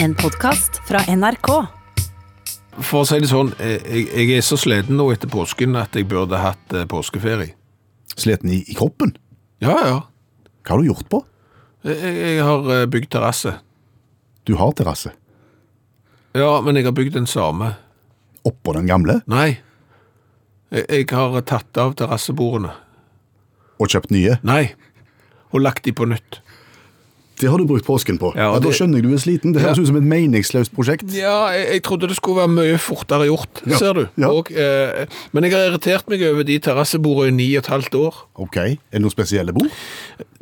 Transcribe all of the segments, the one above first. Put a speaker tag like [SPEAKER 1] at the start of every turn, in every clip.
[SPEAKER 1] En podkast fra NRK.
[SPEAKER 2] For å si det sånn, eh, jeg, jeg er så sliten nå etter påsken at jeg burde hatt eh, påskeferie.
[SPEAKER 3] Sliten i, i kroppen?
[SPEAKER 2] Ja, ja.
[SPEAKER 3] Hva har du gjort på?
[SPEAKER 2] Jeg, jeg har eh, bygd terrasse.
[SPEAKER 3] Du har terrasse.
[SPEAKER 2] Ja, men jeg har bygd den samme.
[SPEAKER 3] Oppå den gamle,
[SPEAKER 2] Nei. Jeg, jeg har tatt av terrassebordene.
[SPEAKER 3] og kjøpt nye.
[SPEAKER 2] Nei. Og lagt de på nytt.
[SPEAKER 3] Det har du brukt påsken på.
[SPEAKER 2] Ja,
[SPEAKER 3] Ja,
[SPEAKER 2] og
[SPEAKER 3] Da
[SPEAKER 2] det-
[SPEAKER 3] skjønner jeg du er sliten. Det høres ut som et meningsløst prosjekt.
[SPEAKER 2] Ja, jeg, jeg trodde det skulle være mye fortere gjort,
[SPEAKER 3] Ja,
[SPEAKER 2] ser du.
[SPEAKER 3] ja.
[SPEAKER 2] Og, eh, men jeg har irritert meg over de terrassebordene i ni og et halvt år.
[SPEAKER 3] Ok, Er det noen spesielle bord?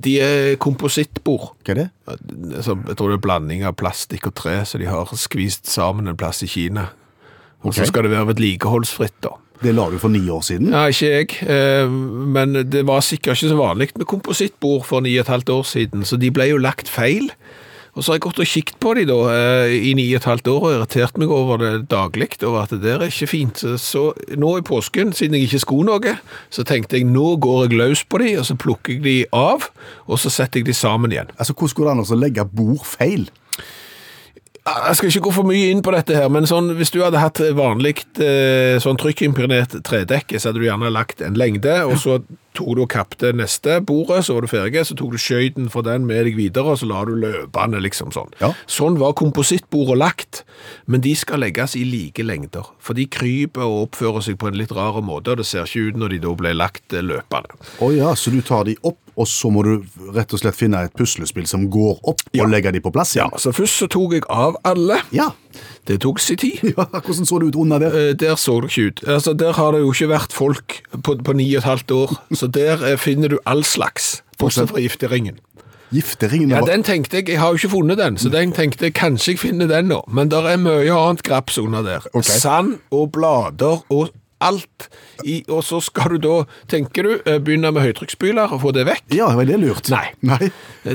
[SPEAKER 2] De er komposittbord.
[SPEAKER 3] Hva er det?
[SPEAKER 2] Altså, jeg tror det er blanding av plastikk og tre, så de har skvist sammen en plass i Kina. Og så
[SPEAKER 3] Ok.
[SPEAKER 2] skal det være vedlikeholdsfritt, da.
[SPEAKER 3] Det la du for ni år siden.
[SPEAKER 2] Ja, ikke jeg, eh, men det var sikkert ikke så vanlig med komposittbord for ni og et halvt år siden, så de ble jo lagt feil. Og så har jeg gått og kikt på de da, eh, i ni og et halvt år, og irritert meg over det daglig, over at det der er ikke fint. Så- Så nå i påsken, siden jeg ikke sko noe, så tenkte jeg, nå går jeg løs på de, og så plukker jeg de av, og så setter jeg de sammen igjen.
[SPEAKER 3] Altså, Hvordan går det an å legge bord feil?
[SPEAKER 2] Jeg skal ikke gå for mye inn på dette her, men sånn, hvis du hadde hatt vanlig eh, sånn trykkimpregnert tredekke, så hadde du gjerne lagt en lengde, og så tok du og kappte neste bordet, så var du ferdig, så tok du skøyten for den med deg videre, og så la du løpende, liksom sånn.
[SPEAKER 3] Ja.
[SPEAKER 2] Sånn var komposittbordet lagt, men de skal legges i like lengder, for de kryper og oppfører seg på en litt rar måte, og det ser ikke ut når de da ble lagt eh, løpende.
[SPEAKER 3] Å ja, Så du tar de opp, og så må du rett og slett finne et puslespill som går opp, og legge de på plass igjen?
[SPEAKER 2] Så først så tok jeg av alle,
[SPEAKER 3] Ja.
[SPEAKER 2] det tok sin tid.
[SPEAKER 3] ja. Hvordan så det ut under der?
[SPEAKER 2] Eh, Der så det ikke ut. Altså, der har det jo ikke vært folk på, på ni og et halvt år, så der eh, finner du all slags. Bortsett fra gifteringen.
[SPEAKER 3] Gifteringen
[SPEAKER 2] Ja,
[SPEAKER 3] var-
[SPEAKER 2] den tenkte jeg, jeg har jo ikke funnet den, så den tenkte jeg kanskje jeg finner den nå. Men der er mye annet graps under der.
[SPEAKER 3] Ok.
[SPEAKER 2] Sand og blader og alt. I, og så skal du da, tenker du, eh, begynne med høytrykksspyler og få det vekk.
[SPEAKER 3] ja var det lurt?
[SPEAKER 2] Nei.
[SPEAKER 3] Nei.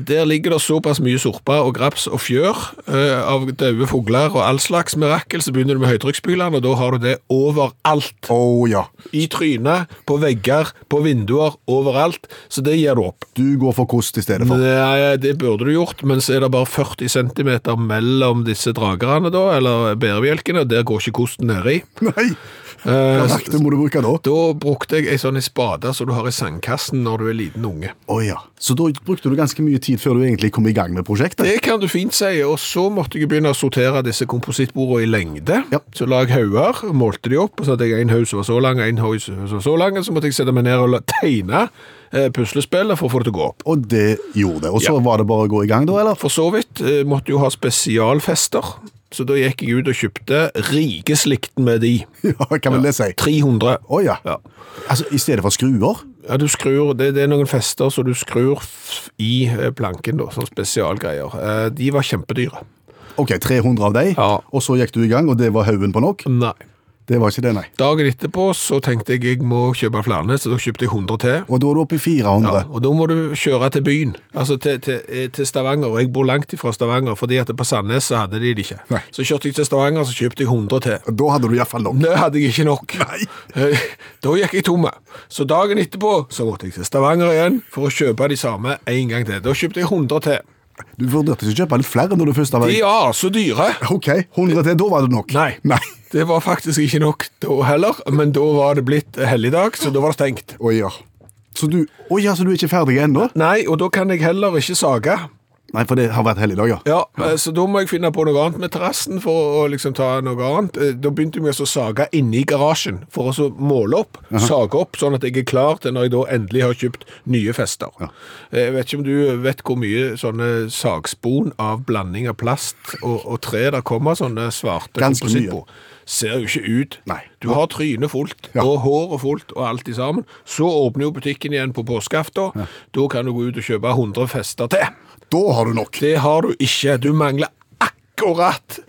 [SPEAKER 2] Der ligger det såpass mye sorpa og graps og fjør eh, av døde fugler og all slags mirakel, så begynner du med høytrykksspyleren, og da har du det overalt.
[SPEAKER 3] Å ja.
[SPEAKER 2] I trynet, på vegger, på vinduer, overalt. Så det gir du opp.
[SPEAKER 3] Du går for kost i stedet for.
[SPEAKER 2] Nei, det burde du gjort, men så er det bare 40 cm mellom disse dragerne, da, eller bærebjelkene, og der går ikke kosten nedi.
[SPEAKER 3] Nei! Hva verktøy må du bruke da?
[SPEAKER 2] Da brukte jeg ei sånn spade som du har i sandkassen når du er liten unge.
[SPEAKER 3] Å ja. Så da brukte du ganske mye tid før du egentlig kom i gang med prosjektet?
[SPEAKER 2] Det kan du fint si, og så måtte jeg begynne å sortere disse komposittbordene i lengde.
[SPEAKER 3] Ja.
[SPEAKER 2] Så la jeg hauger, målte de opp, og så hadde jeg en haug som var så lang, en haug som var så lang, og så måtte jeg sette meg ned og la- tegne eh, puslespillet for å få det til å gå opp.
[SPEAKER 3] Og det gjorde det. Og så
[SPEAKER 2] Ja.
[SPEAKER 3] var det bare å gå i gang, da, eller?
[SPEAKER 2] For så vidt eh, måtte jo ha spesialfester, så da gikk jeg ut og kjøpte rikeslikten med de.
[SPEAKER 3] Ja, kan vel det si.
[SPEAKER 2] 300.
[SPEAKER 3] Å ja.
[SPEAKER 2] Ja.
[SPEAKER 3] Altså, i stedet for skruer?
[SPEAKER 2] Ja, du skrur, det, det er noen fester, så du skrur f- i eh, planken da, sånn spesialgreier. Eh, De var kjempedyre.
[SPEAKER 3] Ok, 300 av deg,
[SPEAKER 2] Ja.
[SPEAKER 3] og så gikk du i gang, og det var haugen på nok?
[SPEAKER 2] Nei.
[SPEAKER 3] Det var ikke det, nei.
[SPEAKER 2] Dagen etterpå så tenkte jeg jeg må kjøpe flere, så da kjøpte jeg 100 til.
[SPEAKER 3] Og da er du oppe i
[SPEAKER 2] Ja,
[SPEAKER 3] 400.
[SPEAKER 2] og da må du kjøre til byen, altså til, til, eh, til Stavanger. og Jeg bor langt ifra Stavanger, fordi at på Sandnes så hadde de det ikke.
[SPEAKER 3] Nei.
[SPEAKER 2] Så kjørte jeg til Stavanger, så kjøpte jeg 100 til.
[SPEAKER 3] Da hadde du iallfall nok.
[SPEAKER 2] Det hadde jeg ikke nok.
[SPEAKER 3] Nei.
[SPEAKER 2] Eh, Da gikk jeg tomme. Så dagen etterpå så måtte jeg til Stavanger igjen for å kjøpe de samme en gang til. Da kjøpte jeg 100 til.
[SPEAKER 3] Du vurderte ikke å kjøpe litt flere når du først var
[SPEAKER 2] De er så dyre.
[SPEAKER 3] Ok, 100 til, da var det nok?
[SPEAKER 2] Nei.
[SPEAKER 3] Nei.
[SPEAKER 2] Det var faktisk ikke nok da heller, men da var det blitt helligdag, så da var det stengt.
[SPEAKER 3] Å ja. Så du, å ja, så du er ikke ferdig ennå?
[SPEAKER 2] Nei, og da kan jeg heller ikke sage.
[SPEAKER 3] Nei, for det har vært helligdag, ja.
[SPEAKER 2] Ja, eh, Så da må jeg finne på noe annet med terrassen for å liksom ta noe annet. Eh, Da begynte jeg med å sage inne i garasjen for å så måle opp, sage opp, sånn at jeg er klar til når jeg da endelig har kjøpt nye fester. Eh, Jeg vet ikke om du vet hvor mye sånne sagspon av blanding av plast og, og tre der kommer, sånne svarte
[SPEAKER 3] Ganske mye.
[SPEAKER 2] komposittbord. Ser jo ikke ut.
[SPEAKER 3] Nei.
[SPEAKER 2] Du har trynet fullt,
[SPEAKER 3] Ja.
[SPEAKER 2] og håret fullt, og alt i sammen. Så åpner jo butikken igjen på påskeaften. Da kan du gå ut og kjøpe 100 fester til.
[SPEAKER 3] Da har du nok.
[SPEAKER 2] Det har du ikke. Du mangler akkurat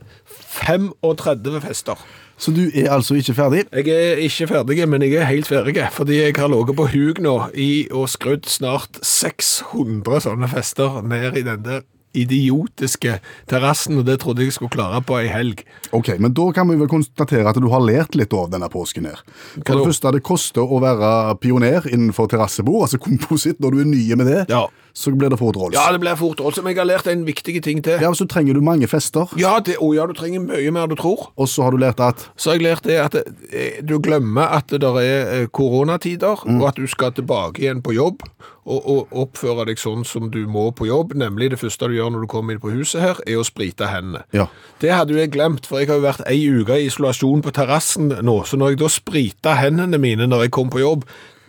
[SPEAKER 2] 35 fester.
[SPEAKER 3] Så du er altså ikke ferdig?
[SPEAKER 2] Jeg er ikke ferdig, men jeg er helt ferdig, fordi jeg har ligget på hug nå i og skrudd snart 600 sånne fester ned i den der idiotiske terrassen, og det trodde jeg skulle klare på ei helg.
[SPEAKER 3] Ok, men da kan vi vel konstatere at du har lært litt av denne påsken her. For
[SPEAKER 2] da?
[SPEAKER 3] det første, det koster å være pioner innenfor terrassebord, altså kompositt, når du er nye med det,
[SPEAKER 2] Ja.
[SPEAKER 3] så blir det fort rolls.
[SPEAKER 2] Ja, det ble fort også, men jeg har lært en viktig ting til. Ja,
[SPEAKER 3] Ja, så trenger du mange fester,
[SPEAKER 2] det, å ja, du trenger mye mer enn du tror.
[SPEAKER 3] og så har du lært at
[SPEAKER 2] Så har jeg lært det at eh, du glemmer at det der er eh, koronatider, og at du skal tilbake igjen på jobb, og, og oppføre deg sånn som du må på jobb, nemlig det første du gjør når du kommer inn på huset her, er å sprite hendene.
[SPEAKER 3] Ja.
[SPEAKER 2] Det hadde jo jeg glemt, for jeg har jo vært ei uke i isolasjon på terrassen nå, så når jeg da sprita hendene mine når jeg kom på jobb,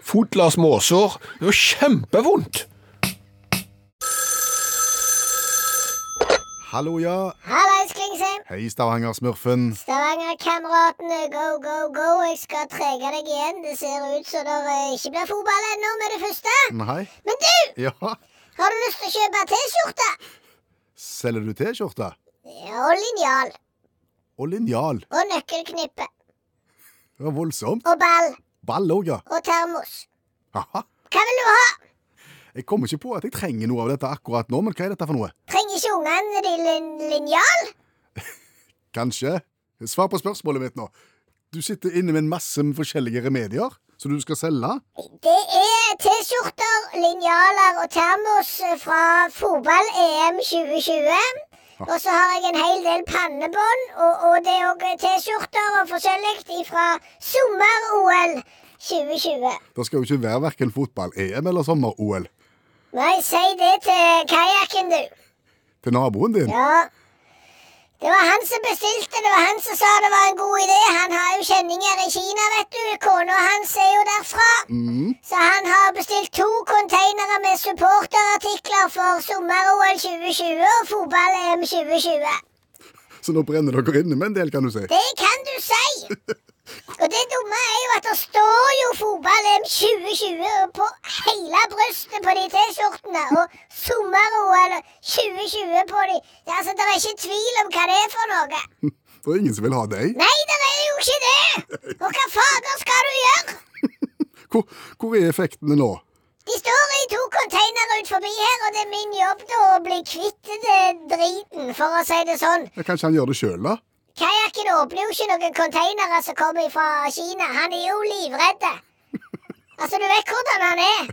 [SPEAKER 2] fotla småsår, det var kjempevondt.
[SPEAKER 3] Hallo, ja.
[SPEAKER 4] Hallais, Klingsheim.
[SPEAKER 3] Hei, Stavanger-smurfen.
[SPEAKER 4] Stavanger-kameratene, go, go, go. Jeg skal trege deg igjen. Det ser ut som det eh, ikke blir fotball ennå med det første.
[SPEAKER 3] Nei.
[SPEAKER 4] Men du,
[SPEAKER 3] Ja.
[SPEAKER 4] har du lyst til å kjøpe T-skjorte?
[SPEAKER 3] Selger du T-skjorte?
[SPEAKER 4] Ja, og linjal.
[SPEAKER 3] Og linjal.
[SPEAKER 4] Og nøkkelknippe.
[SPEAKER 3] Det var voldsomt.
[SPEAKER 4] Og ball.
[SPEAKER 3] Ball òg, ja.
[SPEAKER 4] Og termos.
[SPEAKER 3] Haha.
[SPEAKER 4] Hva vil du ha?
[SPEAKER 3] Jeg kommer ikke på at jeg trenger noe av dette akkurat nå, men hva er dette for noe?
[SPEAKER 4] Trenger ikke ungene de lin linjal?
[SPEAKER 3] Kanskje? Svar på spørsmålet mitt nå. Du sitter inne med en masse forskjellige remedier som du skal selge.
[SPEAKER 4] Det er T-skjorter, linjaler og termos fra fotball-EM 2020. Og så har jeg en hel del pannebånd, og, og det er òg T-skjorter og forskjellig fra sommer-OL 2020.
[SPEAKER 3] Det skal jo ikke være verken fotball-EM eller sommer-OL.
[SPEAKER 4] Nei, si det til kajakken, du.
[SPEAKER 3] Til naboen din?
[SPEAKER 4] Ja. Det var han som bestilte, det var han som sa det var en god idé. Han har jo kjenninger i Kina, vet du. Kona hans er jo derfra. Så han har bestilt to containere med supporterartikler for sommer-OL 2020 og fotball-EM 2020.
[SPEAKER 3] Så nå brenner dere inne med en del, kan du si.
[SPEAKER 4] Det kan du si! Og det dumme er jo at det står jo fotball-EM 2020 på hele brystet på de T-skjortene, og sommer-OL 2020 på de Altså, det er ikke tvil om hva det er for noe.
[SPEAKER 3] Det er ingen som vil ha deg.
[SPEAKER 4] Nei, det er jo ikke det! Og hva fader skal du gjøre?
[SPEAKER 3] Hvor, hvor er effektene nå?
[SPEAKER 4] De står i to containere ut forbi her, og det er min jobb da å bli kvitt det driten, for å si det sånn.
[SPEAKER 3] Ja, Kanskje han gjør det sjøl, da?
[SPEAKER 4] Kajakken åpner jo ikke noen containere som kommer fra Kina. Han er jo livredd. Altså, du vet hvordan han er.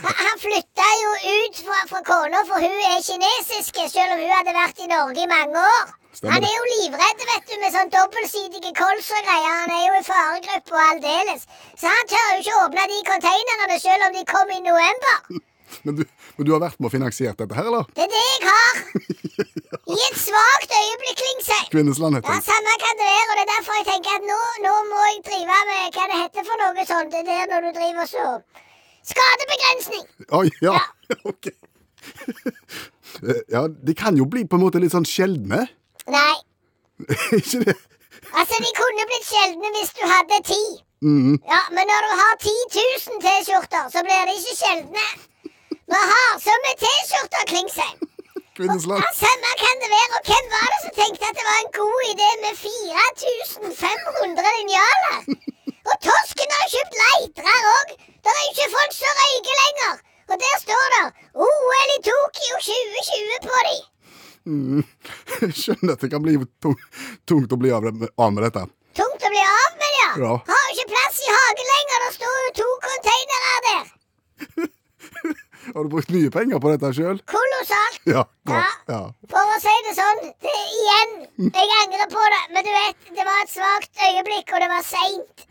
[SPEAKER 4] Ha- Han flytta jo ut fra, fra kona, for hun er kinesisk, selv om hun hadde vært i Norge i mange år.
[SPEAKER 3] Stemmer
[SPEAKER 4] han
[SPEAKER 3] det.
[SPEAKER 4] er jo livredd, vet du, med sånn dobbeltsidige kols og greier. Han er jo i faregruppe og aldeles. Så han tør jo ikke åpne de containerne selv om de kom i november.
[SPEAKER 3] Men du, men du har vært med og finansiert dette her, eller?
[SPEAKER 4] Det er det jeg har. I et svakt øyeblikk, Klingsheim.
[SPEAKER 3] Kvinnesland
[SPEAKER 4] Ja,
[SPEAKER 3] heter det.
[SPEAKER 4] Samme kan det være, og det er derfor jeg tenker at nå, nå må jeg drive med hva det heter for noe sånt. Det der når du driver så Skadebegrensning!
[SPEAKER 3] Oi, ja. Ok. Eh, Ja, de kan jo bli på en måte litt sånn sjeldne.
[SPEAKER 4] Nei.
[SPEAKER 3] ikke det?
[SPEAKER 4] Altså, de kunne blitt sjeldne hvis du hadde ti. Ja, Men når du har 10 000 T-skjorter, så blir de ikke sjeldne. Vi har som en T-skjorte, Klingsheim.
[SPEAKER 3] Kvinnesland.
[SPEAKER 4] Ja, samme kan det være. Og hvem var det som tenkte at det var en god idé med 4500 linjaler? Og tosken har jo kjøpt leitere òg. Det er jo ikke folk som røyker lenger. Og der står det OL i Tokyo 2020 på de.
[SPEAKER 3] Jeg skjønner at det kan bli tung, tungt å bli av, det- av med dette.
[SPEAKER 4] Tungt å bli av med, ja.
[SPEAKER 3] Ja.
[SPEAKER 4] Har jo ikke plass i hagen lenger. Det står jo to containere der.
[SPEAKER 3] Har du brukt mye penger på dette sjøl?
[SPEAKER 4] Kolossalt.
[SPEAKER 3] Ja,
[SPEAKER 4] Ja.
[SPEAKER 3] godt. Ja.
[SPEAKER 4] For å si det sånn, det, igjen, jeg angrer på det. Men du vet, det var et svakt øyeblikk, og det var seint.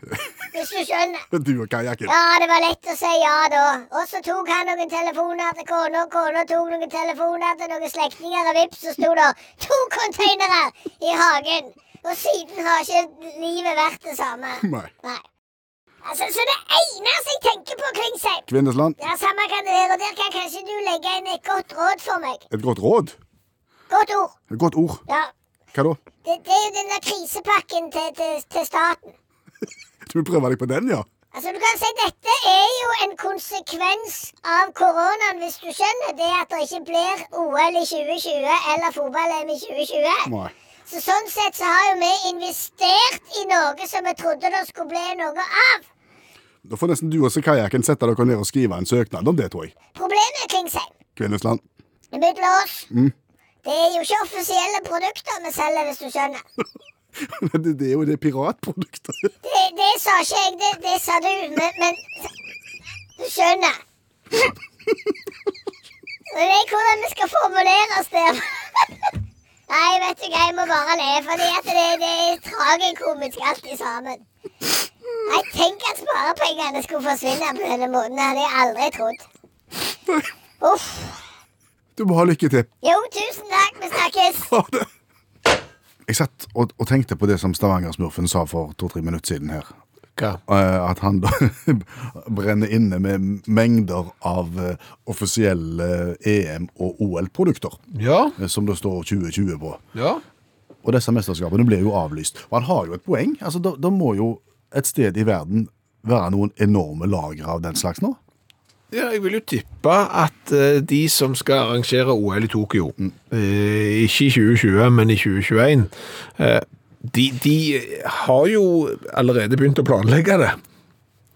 [SPEAKER 4] Hvis du skjønner.
[SPEAKER 3] Du og kajakken.
[SPEAKER 4] Ja, det var lett å si ja da. Og så tok han noen telefoner til kona, og kona tok noen telefoner til noen slektninger, og vips, så sto det to containere i hagen. Og siden har ikke livet vært det samme.
[SPEAKER 3] Nei.
[SPEAKER 4] Nei. Altså, så det eneste jeg tenker på, Klingsheim
[SPEAKER 3] Kvinnesland,
[SPEAKER 4] Ja, samme kan det være, og der kan kanskje du legge inn et godt råd for meg.
[SPEAKER 3] et godt råd?
[SPEAKER 4] Godt ord.
[SPEAKER 3] Et godt ord.
[SPEAKER 4] Ja.
[SPEAKER 3] Hva da?
[SPEAKER 4] Det, det er jo den der krisepakken til, til, til staten.
[SPEAKER 3] Du vil prøve deg på den, ja?
[SPEAKER 4] Altså du kan si Dette er jo en konsekvens av koronaen, hvis du skjønner. Det at det ikke blir OL i 2020 eller fotball-EM i 2020.
[SPEAKER 3] Nei.
[SPEAKER 4] Så Sånn sett så har jo vi investert i noe som vi trodde det skulle bli noe av.
[SPEAKER 3] Da får nesten du og så kajakken sette dere ned og skrive en søknad om det, tror jeg.
[SPEAKER 4] Problemet, Klingsheim,
[SPEAKER 3] Kvinnesland.
[SPEAKER 4] mellom oss, Det er jo ikke offisielle produkter vi selger, hvis du skjønner.
[SPEAKER 3] Det, det er jo det piratproduktet.
[SPEAKER 4] Det, det sa ikke jeg, det, det sa du, men, men Du skjønner. Så det er hvordan vi skal formulere oss der. Nei, vet du hva, jeg må bare le, fordi at det, det er tragikomisk alt i sammen. Nei, tenk at sparepengene skulle forsvinne på denne måten. Det hadde jeg aldri trodd. Uff.
[SPEAKER 3] Du må ha lykke til.
[SPEAKER 4] Jo, tusen takk. Vi snakkes.
[SPEAKER 3] Ha det. Jeg satt og, og tenkte på det som Stavanger-smurfen sa for to-tre minutter siden her.
[SPEAKER 2] Hva?
[SPEAKER 3] Eh, At han da brenner inne med mengder av eh, offisielle EM- og OL-produkter.
[SPEAKER 2] Ja,
[SPEAKER 3] eh, Som det står 2020 på.
[SPEAKER 2] ja.
[SPEAKER 3] Og disse mesterskapene blir jo avlyst. Og han har jo et poeng. Altså, da, da må jo et sted i verden være noen enorme lagre av den slags nå.
[SPEAKER 2] Ja, jeg vil jo tippe at eh, de som skal arrangere OL i Tokyo, eh, ikke i 2020, men i 2021, eh, de, de har jo allerede begynt å planlegge det.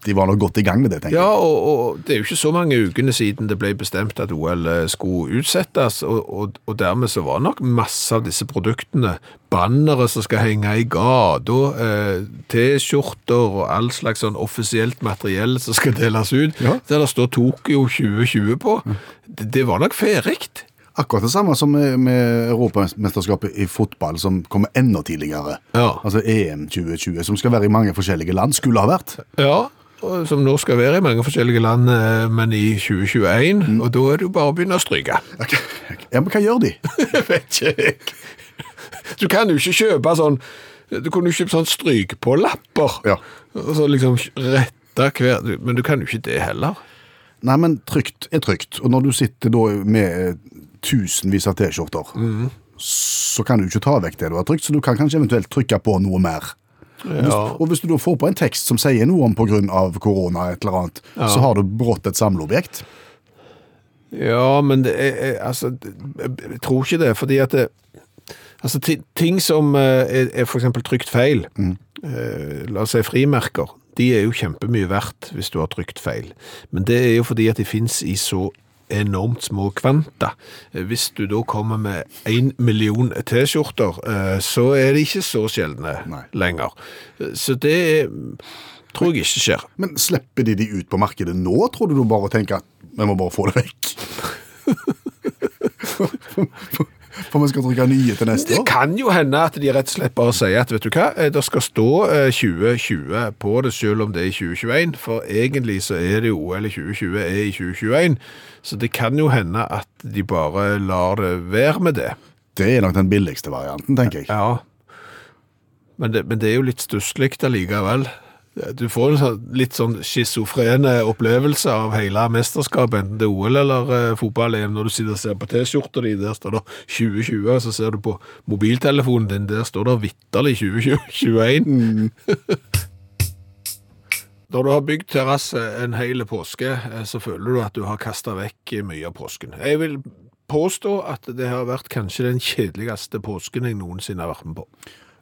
[SPEAKER 3] De var nå godt i gang med det, tenker
[SPEAKER 2] Ja,
[SPEAKER 3] jeg.
[SPEAKER 2] og, og det er jo ikke så mange ukene siden det ble bestemt at OL skulle utsettes, og, og, og dermed så var nok masse av disse produktene, bannere som skal henge i gata, eh, T-skjorter og all slags sånn offisielt materiell som skal deles ut,
[SPEAKER 3] Ja.
[SPEAKER 2] der det står Tokyo 2020 på, det, det var nok ferikt.
[SPEAKER 3] Akkurat det samme som med, med Europamesterskapet i fotball, som kommer enda tidligere.
[SPEAKER 2] Ja.
[SPEAKER 3] Altså EM 2020, som skal være i mange forskjellige land, skulle ha vært.
[SPEAKER 2] Ja, og som nå skal være i mange forskjellige land, eh, men i 2021, og da er det jo bare å begynne å stryke.
[SPEAKER 3] Ja, men hva gjør de?
[SPEAKER 2] Jeg vet ikke jeg. Du kan jo ikke kjøpe sånn Du kunne jo kjøpe sånn stryk på lapper.
[SPEAKER 3] Ja.
[SPEAKER 2] Og så liksom rette hver Men du kan jo ikke det heller.
[SPEAKER 3] Nei, men trygt er trygt. Og når du sitter da med eh, tusenvis av T-skjorter,
[SPEAKER 2] Mhm.
[SPEAKER 3] så kan du ikke ta vekk det du har trykt, så du kan kanskje eventuelt trykke på noe mer. Og Hvis, og hvis du da får på en tekst som sier noe om pga. korona, et eller annet, så har du brått et samleobjekt.
[SPEAKER 2] Ja, men det er, er- altså, det- jeg jeg tror ikke det, fordi at det, altså, ti- ting som eh, er, er for eksempel trykt feil, eh, la oss si frimerker, de er jo kjempemye verdt hvis du har trykt feil. Men det er jo fordi at de finnes i så enormt små kvanta. Eh, Hvis du da kommer med en million t-skjorter, eh, så er de ikke så sjeldne
[SPEAKER 3] Nei.
[SPEAKER 2] lenger. Eh, Så det er, tror jeg ikke skjer.
[SPEAKER 3] Men slipper de de ut på markedet nå, tror du du bare tenker at vi må bare få det vekk? For vi skal trykke nye til neste
[SPEAKER 2] Det
[SPEAKER 3] år?
[SPEAKER 2] kan jo hende at de rett og slett bare sier at vet du hva, eh, det skal stå eh, 2020 på det, selv om det er i 2021. For egentlig så er det jo OL i 2020 er i 2021, så det kan jo hende at de bare lar det være med det.
[SPEAKER 3] Det er nok den billigste varianten, tenker jeg.
[SPEAKER 2] Ja. Men det, men det er jo litt stusslig allikevel. Du får en sånn, litt sånn schizofrene opplevelse av hele mesterskapet, enten det er OL eller eh, fotball-EM, når du sitter og ser på T-skjorta di, der står det 2020, og så ser du på mobiltelefonen din, der står det vitterlig 2021. Når du har bygd terrasse en hel påske, eh, så føler du at du har kasta vekk mye av påsken. Jeg vil påstå at det har vært kanskje den kjedeligste påsken jeg noensinne har vært med på.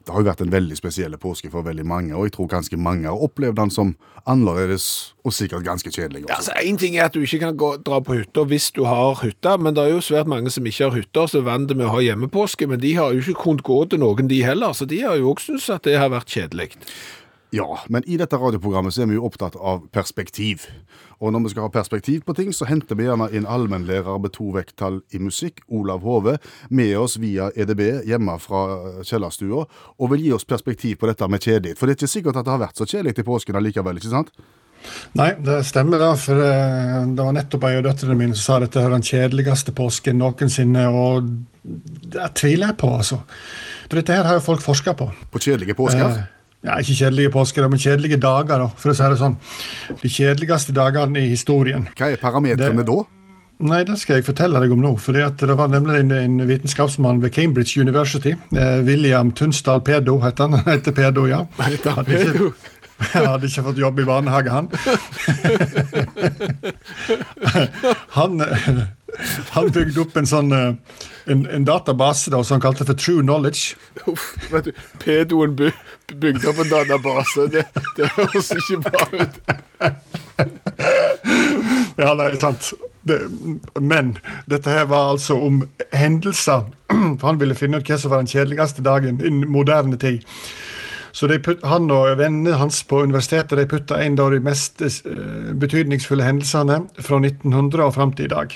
[SPEAKER 3] Det har jo vært en veldig spesiell påske for veldig mange, og jeg tror ganske mange har opplevd den som annerledes og sikkert ganske
[SPEAKER 2] Ja,
[SPEAKER 3] kjedelig også.
[SPEAKER 2] altså, En ting er at du ikke kan gå, dra på hytta hvis du har hytte, men det er jo svært mange som ikke har hytter, som er vant med å ha hjemmepåske. Men de har jo ikke kunnet gå til noen, de heller, så de har jo òg syntes at det har vært kjedelig.
[SPEAKER 3] Ja, men i dette radioprogrammet så er vi jo opptatt av perspektiv. Og når vi skal ha perspektiv på ting, så henter vi gjerne inn allmennlærer med to vekttall i musikk, Olav Hove, med oss via EDB hjemme fra eh, kjellerstua, og vil gi oss perspektiv på dette med kjedelig. For det er ikke sikkert at det har vært så kjedelig i påsken allikevel, ikke sant?
[SPEAKER 5] Nei, det stemmer det. For eh, det var nettopp ei av døtrene mine som sa dette er den kjedeligste påsken noensinne. Og det tviler jeg på, altså. For dette her har jo folk forska på.
[SPEAKER 3] På kjedelige påsker?
[SPEAKER 5] Eh, Ja, ikke kjedelige påsker, men kjedelige dager, da, for å si det sånn. De kjedeligste dagene i historien.
[SPEAKER 3] Hva er parametrene
[SPEAKER 5] det-
[SPEAKER 3] da?
[SPEAKER 5] Nei, det skal jeg fortelle deg om nå. fordi at Det var nemlig en, en vitenskapsmann ved Cambridge University. Eh, William Tunsdal Pedo heter han. Han heter Pedo, ja. Hadde ikke, han hadde ikke fått jobb i barnehage, han. han, eh, han bygde opp en sånn eh, en, en database da, som han kalte for True Knowledge.
[SPEAKER 2] Uff, vet du, pedoen by- bygde opp en database, det, det høres ikke bra ut.
[SPEAKER 5] Ja, nei, sant. det, men dette her var altså om hendelser. For han ville finne ut hva som var den kjedeligste dagen i moderne tid. Så de putt, han og vennene hans på universitetet de putta en av de mest eh, betydningsfulle hendelsene fra 1900 og fram til i dag.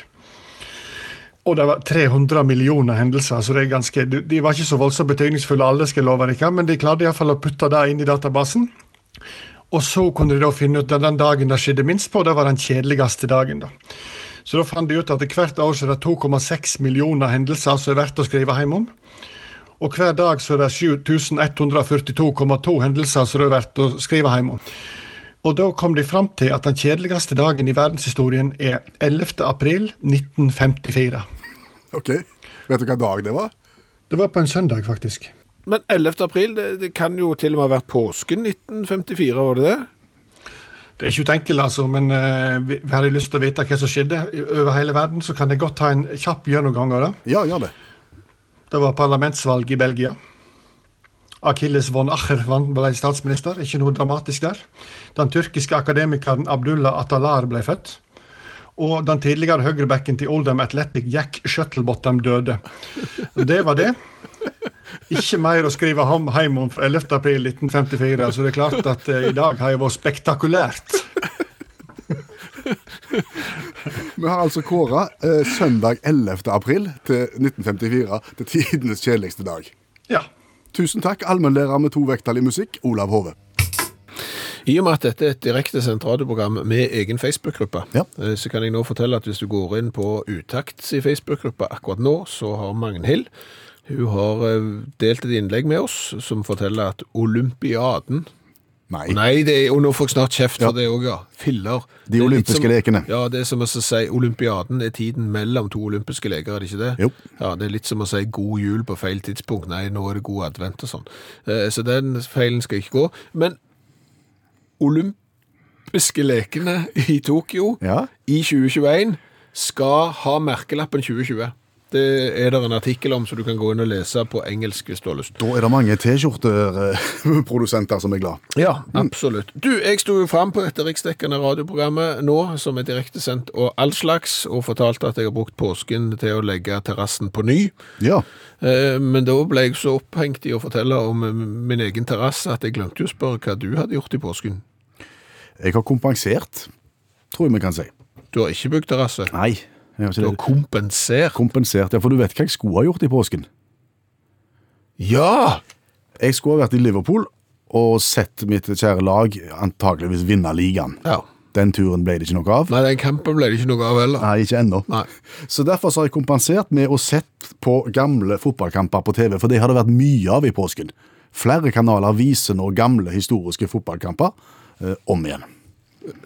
[SPEAKER 5] Og det var 300 millioner hendelser, så det er ganske, de, de var ikke så voldsomt betydningsfulle alle, skal jeg love dere, men de klarte iallfall å putte det inn i databasen. Og så kunne de da finne ut at den dagen det skjedde minst på, det var den kjedeligste dagen. da. Så da fant de ut at hvert år så er det 2,6 millioner hendelser som er verdt å skrive hjem om. Og hver dag så er det 7142,2 hendelser som det er verdt å skrive hjem om. Og da kom de fram til at den kjedeligste dagen i verdenshistorien er 11. april 1954.
[SPEAKER 3] Ok, Vet du hvilken dag det var?
[SPEAKER 5] Det var på en søndag, faktisk.
[SPEAKER 2] Men 11. april, det, det kan jo til og med ha vært påsken 1954, var det det?
[SPEAKER 5] Det er ikke utenkelig, altså, men eh, vi- har jeg lyst til å vite hva som skjedde i- over hele verden, så kan jeg godt ta en kjapp gjennomgang av det.
[SPEAKER 3] Ja, gjør det.
[SPEAKER 5] Det var parlamentsvalg i Belgia. Achilles von Acher vann- ble statsminister, ikke noe dramatisk der. Den tyrkiske akademikeren Abdullah Atalar ble født. Og den tidligere høyrebacken til Oldham Athletic, Jack Shuttlebottom, døde. Det var det. Ikke mer å skrive ham hjem om fra 11. april 1954, så det er klart at eh, i dag har det vært spektakulært.
[SPEAKER 3] Vi har altså kåra eh, søndag 11. april til 1954 til tidenes kjedeligste dag.
[SPEAKER 5] Ja.
[SPEAKER 3] Tusen takk, allmennlærer med to vekttall i musikk, Olav Hove.
[SPEAKER 2] I og med at dette er et direktesendt radioprogram med egen Facebook-gruppe,
[SPEAKER 3] Ja.
[SPEAKER 2] eh, så kan jeg nå fortelle at hvis du går inn på Utakts i Facebook-gruppa akkurat nå, så har Magnhild hun har eh, delt et innlegg med oss som forteller at olympiaden
[SPEAKER 3] Nei.
[SPEAKER 2] Nei, det er, og nå får jeg snart kjeft for det òg, ja. Filler.
[SPEAKER 3] De
[SPEAKER 2] Det er litt
[SPEAKER 3] olympiske
[SPEAKER 2] som-
[SPEAKER 3] lekene.
[SPEAKER 2] Ja, det er som å si olympiaden er tiden mellom to olympiske leker, er det ikke det?
[SPEAKER 3] Jo.
[SPEAKER 2] Ja, det er litt som å si god jul på feil tidspunkt. Nei, nå er det god advent og sånn. Eh, Så den feilen skal ikke gå. Men olympiske lekene i Tokyo
[SPEAKER 3] Ja.
[SPEAKER 2] i 2021 skal ha merkelappen 2020. Det er det en artikkel om, så du kan gå inn og lese på engelsk hvis du har lyst.
[SPEAKER 3] Da er det mange T-skjorteprodusenter som er glad.
[SPEAKER 2] Ja, Mm. absolutt. Du, jeg sto jo fram på dette riksdekkende radioprogrammet nå, som er direktesendt og all slags, og fortalte at jeg har brukt påsken til å legge terrassen på ny.
[SPEAKER 3] Ja.
[SPEAKER 2] Eh, Men da ble jeg så opphengt i å fortelle om eh, min egen terrasse at jeg glemte jo å spørre hva du hadde gjort i påsken.
[SPEAKER 3] Jeg har kompensert, tror jeg vi kan si.
[SPEAKER 2] Du har ikke bygd terrasse.
[SPEAKER 3] Nei. Jeg har
[SPEAKER 2] Du
[SPEAKER 3] ikke
[SPEAKER 2] har
[SPEAKER 3] det.
[SPEAKER 2] kompensert.
[SPEAKER 3] Kompensert, ja, for du vet hva jeg skulle ha gjort i påsken.
[SPEAKER 2] Ja!
[SPEAKER 3] Jeg skulle ha vært i Liverpool og sett mitt kjære lag antakeligvis vinne ligaen.
[SPEAKER 2] ja.
[SPEAKER 3] Den turen ble det ikke noe av.
[SPEAKER 2] Nei, den kampen ble det ikke noe av heller.
[SPEAKER 3] Nei, ikke ennå.
[SPEAKER 2] Nei.
[SPEAKER 3] Så derfor så har jeg kompensert med å sett på gamle fotballkamper på TV, for det har det vært mye av i påsken. Flere kanaler viser nå gamle historiske fotballkamper eh, om igjen.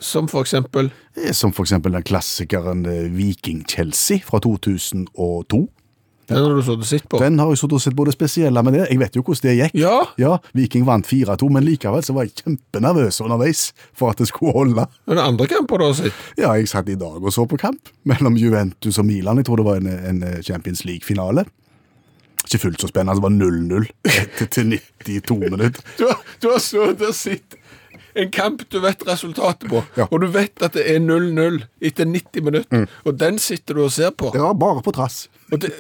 [SPEAKER 2] Som for eksempel
[SPEAKER 3] Eh, Som for eksempel den klassikeren eh, Viking Chelsea fra 2002.
[SPEAKER 2] den har du sittet sitt på.
[SPEAKER 3] Den har jeg sittet og sett på det spesielle med det. Jeg vet jo hvordan det gikk.
[SPEAKER 2] Ja!
[SPEAKER 3] Viking vant 4-2, men likevel så var jeg kjempenervøs underveis for at det skulle holde.
[SPEAKER 2] Den andre kampen du har sett.
[SPEAKER 3] Ja, jeg satt i dag og så på kamp mellom Juventus og Milan. Jeg tror det var en, en Champions League-finale. Ikke fullt så spennende. Det var 0-0 etter til 92 minutter.
[SPEAKER 2] Du har, du har så der sitt en kamp du vet resultatet på,
[SPEAKER 3] Ja. Mm.
[SPEAKER 2] og du vet at det er 0-0 etter 90 minutter, og den sitter du og ser på.
[SPEAKER 3] Det var bare på trass.
[SPEAKER 2] Og det,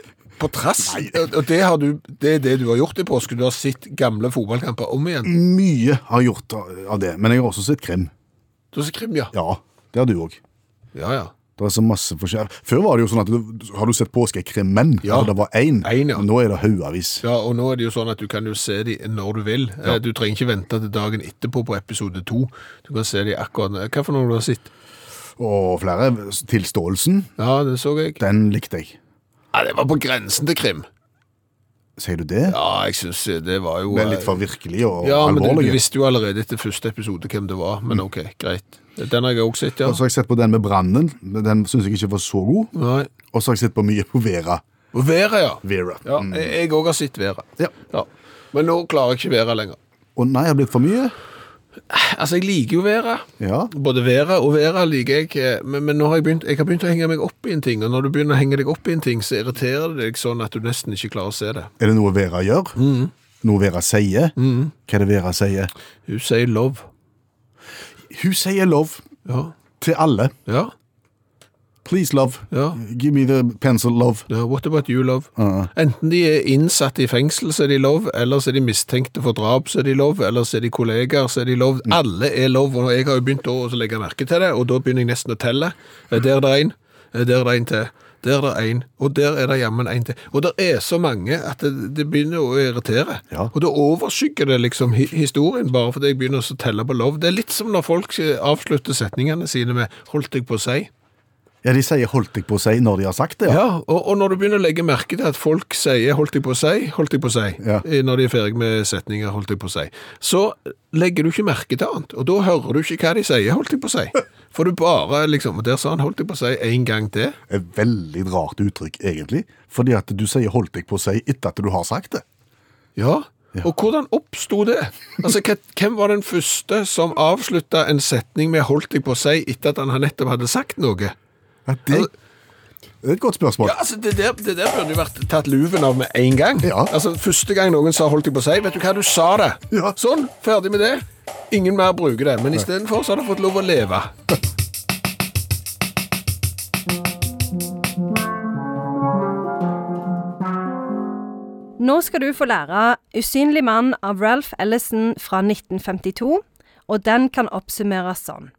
[SPEAKER 2] på trass, og og det, har du, det er det du har gjort i påsken. Du har sett gamle fotballkamper om
[SPEAKER 3] Mm.
[SPEAKER 2] igjen.
[SPEAKER 3] Mye har gjort av det, men jeg har også sett krim.
[SPEAKER 2] Du har sett krim, ja.
[SPEAKER 3] Ja, det har du òg.
[SPEAKER 2] Ja, ja.
[SPEAKER 3] Det er så masse forskjell. Før var det jo sånn at du, har du sett påskekrimmen?
[SPEAKER 2] Ja.
[SPEAKER 3] Altså, det var én.
[SPEAKER 2] En, ja.
[SPEAKER 3] Men Nå er det haugavis.
[SPEAKER 2] Ja, og nå er det jo sånn at du kan jo se de når du vil. Eh, Du trenger ikke vente til dagen etterpå på episode 2. Du kan se de akkurat nå. Hva for noe du har sett?
[SPEAKER 3] Og flere. Tilståelsen,
[SPEAKER 2] Ja, det så jeg.
[SPEAKER 3] den likte jeg.
[SPEAKER 2] Ja, det var på grensen til krim.
[SPEAKER 3] Sier du det?
[SPEAKER 2] Ja, jeg synes det var jo...
[SPEAKER 3] Det er
[SPEAKER 2] eh,
[SPEAKER 3] litt for virkelig og
[SPEAKER 2] Ja, men du,
[SPEAKER 3] alvorlig.
[SPEAKER 2] du visste jo allerede etter første episode hvem det var, men ok, greit. Den har jeg også sett, ja.
[SPEAKER 3] Og så har jeg sett på den med brannen. Den syns jeg ikke var så god.
[SPEAKER 2] Nei.
[SPEAKER 3] Og så har jeg sett på mye på Vera.
[SPEAKER 2] Og Vera, ja.
[SPEAKER 3] Vera. Mm.
[SPEAKER 2] Ja, jeg- jeg òg har sett Vera.
[SPEAKER 3] Ja.
[SPEAKER 2] Ja. Men nå klarer jeg ikke Vera lenger.
[SPEAKER 3] Og nei, har det blitt for mye?
[SPEAKER 2] Altså, jeg liker jo Vera.
[SPEAKER 3] Ja.
[SPEAKER 2] Både Vera og Vera liker jeg, eh, men, men nå har jeg, begynt, jeg har begynt å henge meg opp i en ting, og når du begynner å henge deg opp i en ting, så irriterer det deg sånn at du nesten ikke klarer å se det.
[SPEAKER 3] Er det noe Vera gjør? Noe Vera sier? Hva er det Vera sier?
[SPEAKER 2] Hun sier love.
[SPEAKER 3] Hun sier love
[SPEAKER 2] Ja.
[SPEAKER 3] til alle.
[SPEAKER 2] ja.
[SPEAKER 3] Please, love.
[SPEAKER 2] Ja.
[SPEAKER 3] Give me the pencil, love.
[SPEAKER 2] Ja, what about you, love? Enten de er innsatt i fengsel, så er de lov, eller så er de mistenkte for drap, så er de lov, eller så er de kollegaer, så er de lov.
[SPEAKER 3] Mm.
[SPEAKER 2] Alle er lov, og jeg har jo begynt å legge merke til det, og da begynner jeg nesten å telle. Eh, Der er det en, eh, der er det en til, der er det en, og der er det jammen en til. Og det er så mange at det, det begynner å irritere.
[SPEAKER 3] Ja.
[SPEAKER 2] Og da overskygger det liksom hi- historien, bare fordi jeg begynner å telle på lov. Det er litt som når folk eh, avslutter setningene sine med «holdt jeg på å si».
[SPEAKER 3] Ja, de sier 'holdt jeg på å si' når de har sagt det, ja.
[SPEAKER 2] Ja, og, og når du begynner å legge merke til at folk sier 'holdt jeg på å si', 'holdt jeg på å si',
[SPEAKER 3] Ja.
[SPEAKER 2] eh, når de er ferdig med setninger 'holdt jeg på å si', så legger du ikke merke til annet, og da hører du ikke hva de sier 'holdt jeg på å si'. For du bare liksom og Der sa han 'holdt jeg på å si' en gang til.
[SPEAKER 3] Et veldig rart uttrykk, egentlig. Fordi at du sier 'holdt jeg på å si' etter at du har sagt det.
[SPEAKER 2] Ja. Og hvordan oppsto det? Altså, hva- Hvem var den første som avslutta en setning med 'holdt jeg på å si' etter at han nettopp hadde sagt noe?
[SPEAKER 3] Ja, det, det er et godt spørsmål.
[SPEAKER 2] Ja, altså det der, det der burde jo vært tatt luven av med en gang.
[SPEAKER 3] Ja.
[SPEAKER 2] Altså Første gang noen sa 'holdt jeg på å si', vet du hva, du sa det.
[SPEAKER 3] Ja.
[SPEAKER 2] Sånn, ferdig med det. Ingen mer bruker det. Men istedenfor så har det fått lov å leve.
[SPEAKER 6] Nå skal du få lære 'Usynlig mann' av Ralph Ellison fra 1952, og den kan oppsummeres sånn.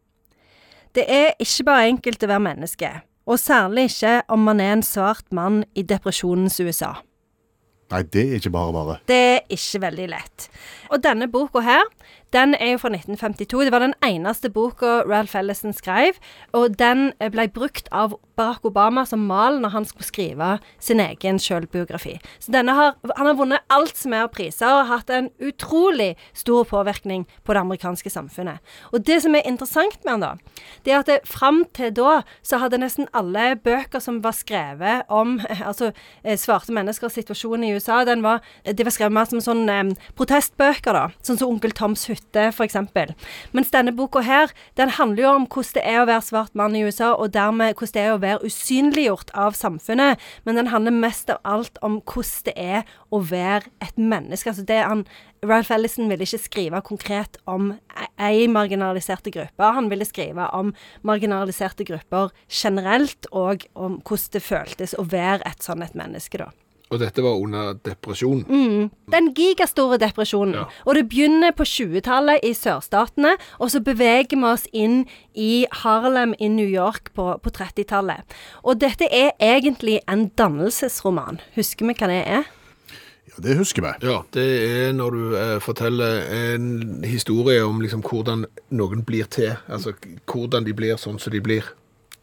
[SPEAKER 6] Det er ikke bare enkelt å være menneske, og særlig ikke om man er en svart mann i depresjonens USA.
[SPEAKER 3] Nei, det er ikke bare bare.
[SPEAKER 6] Det er ikke veldig lett. Og denne boka her, den er jo fra 1952. Det var den eneste boka Ralph Ellison skrev, og den eh, ble brukt av Barack Obama som mal når han skulle skrive sin egen selvbiografi. Så denne har, han har vunnet alt som er av priser, og har hatt en utrolig stor påvirkning på det amerikanske samfunnet. Og det som er interessant med han da, det er at det, fram til da så hadde nesten alle bøker som var skrevet om eh, altså, eh, svarte menneskers situasjon i USA, den var, de var skrevet mer som sånn eh, protestbøker, da. Sånn som Onkel Toms hytte, f.eks. Mens denne boka her, den handler jo om hvordan det er å være svart mann i USA, og dermed hvordan det er å være usynliggjort av samfunnet. Men den handler mest av alt om hvordan det er å være et menneske. Altså det han Ralph Ellison ville ikke skrive konkret om e, ei marginaliserte gruppe. Han ville skrive om marginaliserte grupper generelt, og om hvordan det føltes å være et sånn et menneske, da.
[SPEAKER 2] Og dette var under depresjon.
[SPEAKER 6] Den gigastore depresjonen.
[SPEAKER 2] Ja.
[SPEAKER 6] Og det begynner på 20-tallet i sørstatene, og så beveger vi oss inn i Harlem i New York på, på 30-tallet. Og dette er egentlig en dannelsesroman. Husker vi hva det er?
[SPEAKER 3] Ja, det husker vi.
[SPEAKER 2] Ja, Det er når du eh, forteller en historie om liksom hvordan noen blir til. Altså k- hvordan de blir sånn som de blir.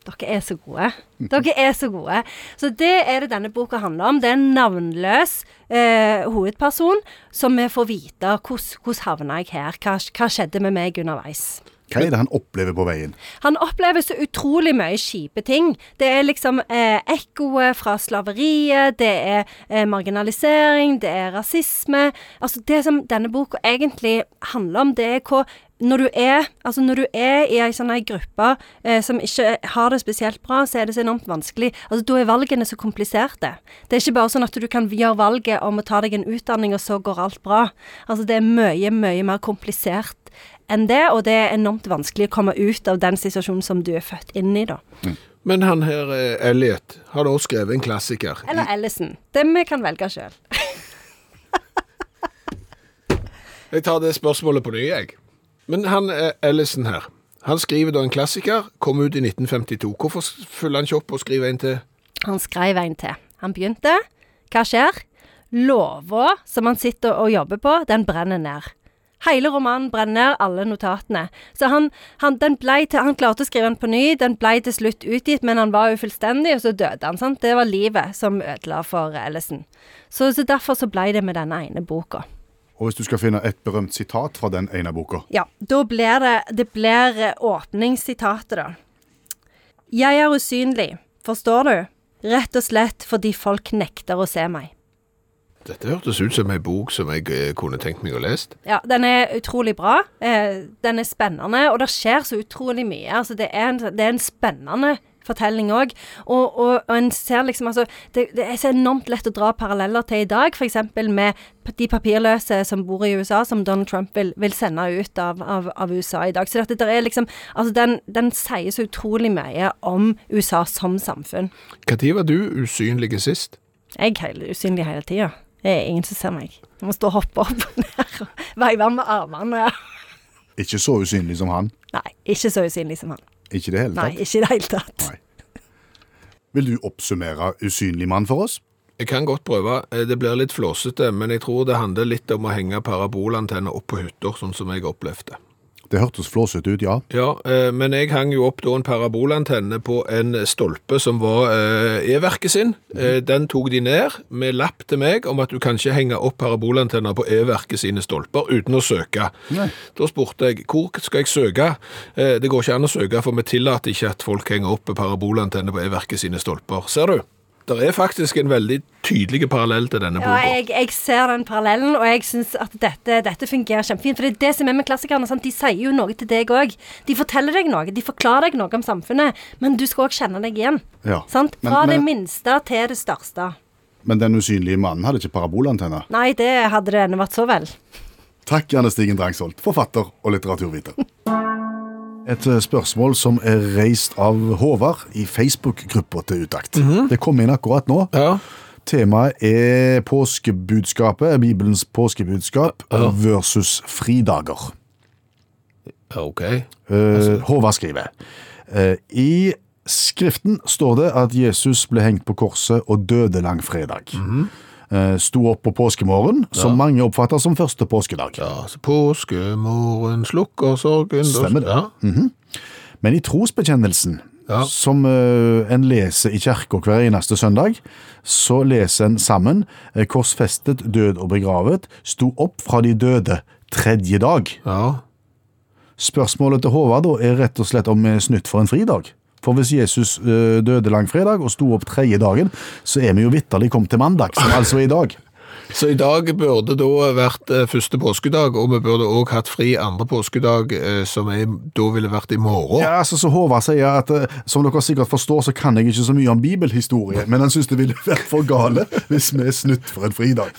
[SPEAKER 6] Dere er så gode. Dere er så gode. Så det er det denne boka handler om. Det er en navnløs eh, hovedperson som vi får vite hvordan havna jeg her, hva, hva skjedde med meg underveis.
[SPEAKER 3] Hva er det han opplever på veien?
[SPEAKER 6] Han opplever så utrolig mye kjipe ting. Det er liksom eh, ekkoet fra slaveriet, det er eh, marginalisering, det er rasisme. Altså Det som denne boka egentlig handler om, det er hva når du er, altså når du er i ei sånn ei gruppe eh, som ikke har det spesielt bra, så er det så enormt vanskelig. Altså Da er valgene så kompliserte. Det er ikke bare sånn at du kan gjøre valget om å ta deg en utdanning, og så går alt bra. Altså Det er mye, mye mer komplisert enn det, og det er enormt vanskelig å komme ut av den situasjonen som du er født inn i, da.
[SPEAKER 2] Men han her, eh, Elliot, har da skrevet en klassiker.
[SPEAKER 6] Eller Ellison. Det vi kan velge sjøl.
[SPEAKER 2] Jeg tar det spørsmålet på ny, jeg. Men han eh, Ellison her, han skriver da en klassiker, kom ut i 1952. Hvorfor s- følger han ikke opp og skriver en til?
[SPEAKER 6] Han skrev en til. Han begynte. Hva skjer? Låva som han sitter og jobber på, den brenner ned. Hele romanen brenner ned, alle notatene. Så han, han, den ble til, han klarte å skrive den på ny, den ble til slutt utgitt, men han var ufullstendig, og så døde han. sant? Det var livet som ødela for Ellison. Så, så derfor så ble det med denne ene boka.
[SPEAKER 3] Og hvis du skal finne et berømt sitat fra den ene boka
[SPEAKER 6] Ja, da blir det Det blir eh, åpningssitatet, da. Jeg er usynlig, forstår du? Rett og slett fordi folk nekter å se meg.
[SPEAKER 2] Dette hørtes ut som en bok som jeg eh, kunne tenkt meg å lest.
[SPEAKER 6] Ja, den er utrolig bra. Eh, den er spennende, og det skjer så utrolig mye. Altså, det er en, det er en spennende fortelling òg. Og, og, og en ser liksom altså det, det er så enormt lett å dra paralleller til i dag, f.eks. med p- de papirløse som bor i USA, som Donald Trump vil, vil sende ut av, av, av USA i dag. Så dette der er liksom Altså, den, den sier så utrolig mye om USA som samfunn.
[SPEAKER 2] Når var du usynlig sist?
[SPEAKER 6] Jeg er helt usynlig hele tida. Det er ingen som ser meg. Jeg må stå og hoppe opp og ned og veive med armene.
[SPEAKER 3] Ikke så usynlig som han.
[SPEAKER 6] Nei, ikke så usynlig som han.
[SPEAKER 3] Ikke i det hele
[SPEAKER 6] Nei,
[SPEAKER 3] tatt.
[SPEAKER 6] ikke i det hele tatt.
[SPEAKER 3] Nei. Vil du oppsummere Usynlig mann for oss?
[SPEAKER 2] Jeg kan godt prøve. Eh, Det blir litt flåsete, men jeg tror det handler litt om å henge parabolantenner opp på hytter, sånn som jeg opplevde.
[SPEAKER 3] Det hørtes flåsete ut, ja.
[SPEAKER 2] Ja, eh, men jeg hang jo opp da en parabolantenne på en stolpe som var eh, E-verket sin.
[SPEAKER 3] Mhm.
[SPEAKER 2] Eh, Den tok de ned med lapp til meg om at du kan ikke henge opp parabolantenner på E-verket sine stolper uten å søke.
[SPEAKER 3] Nei.
[SPEAKER 2] Da spurte jeg hvor skal jeg søke? Eh, Det går ikke an å søke, for vi tillater ikke at folk henger opp parabolantenner på E-verket sine stolper. Ser du? Det er faktisk en veldig tydelig parallell til denne
[SPEAKER 6] Ja,
[SPEAKER 2] boka.
[SPEAKER 6] jeg, jeg ser den parallellen, og jeg syns at dette, dette fungerer kjempefint. For det er det som er med klassikerne. Sant? De sier jo noe til deg òg. De forteller deg noe. De forklarer deg noe om samfunnet, men du skal òg kjenne deg igjen.
[SPEAKER 3] Ja.
[SPEAKER 6] Sant?
[SPEAKER 3] Men-
[SPEAKER 6] Fra det
[SPEAKER 3] men-
[SPEAKER 6] minste til det største.
[SPEAKER 3] Men den usynlige mannen hadde ikke parabolantenne.
[SPEAKER 6] Nei, det hadde det ennå vært så vel.
[SPEAKER 3] Takk, Janne Stigen Drangsholt, forfatter og litteraturviter. Et eh, spørsmål som er reist av Håvard i Facebook-gruppa til Utakt. Det kom inn akkurat nå.
[SPEAKER 2] Ja.
[SPEAKER 3] Temaet er påskebudskapet, Bibelens påskebudskap versus fridager.
[SPEAKER 2] OK.
[SPEAKER 3] Eh, Håvard skriver. eh, I Skriften står det at Jesus ble hengt på korset og døde langfredag.
[SPEAKER 2] Mhm.
[SPEAKER 3] Eh, Sto opp på påskemorgen, som mange oppfatter som første påskedag.
[SPEAKER 2] Ja, så påskemorgen slukker sorgen
[SPEAKER 3] Stemmer det.
[SPEAKER 2] Ja.
[SPEAKER 3] Men i trosbekjennelsen,
[SPEAKER 2] Ja.
[SPEAKER 3] som eh, en leser i kirka hver eneste søndag, så leser en sammen eh, korsfestet, død og begravet, sto opp fra de døde tredje dag.
[SPEAKER 2] ja.
[SPEAKER 3] Spørsmålet til Håvard da er rett og slett om vi er snytt for en fridag. For hvis Jesus eh, døde langfredag og sto opp tredje dagen, så er vi jo vitterlig kommet til mandag, som altså er i dag.
[SPEAKER 2] Så i dag burde da vært eh, første påskedag, og vi burde òg hatt fri andre påskedag, eh, som er, da ville vært i morgen.
[SPEAKER 3] Ja, altså, så Håvard sier at eh, som dere sikkert forstår, så kan jeg ikke så mye om bibelhistorie, men han syns det ville vært for gale hvis vi er snytt for en fridag.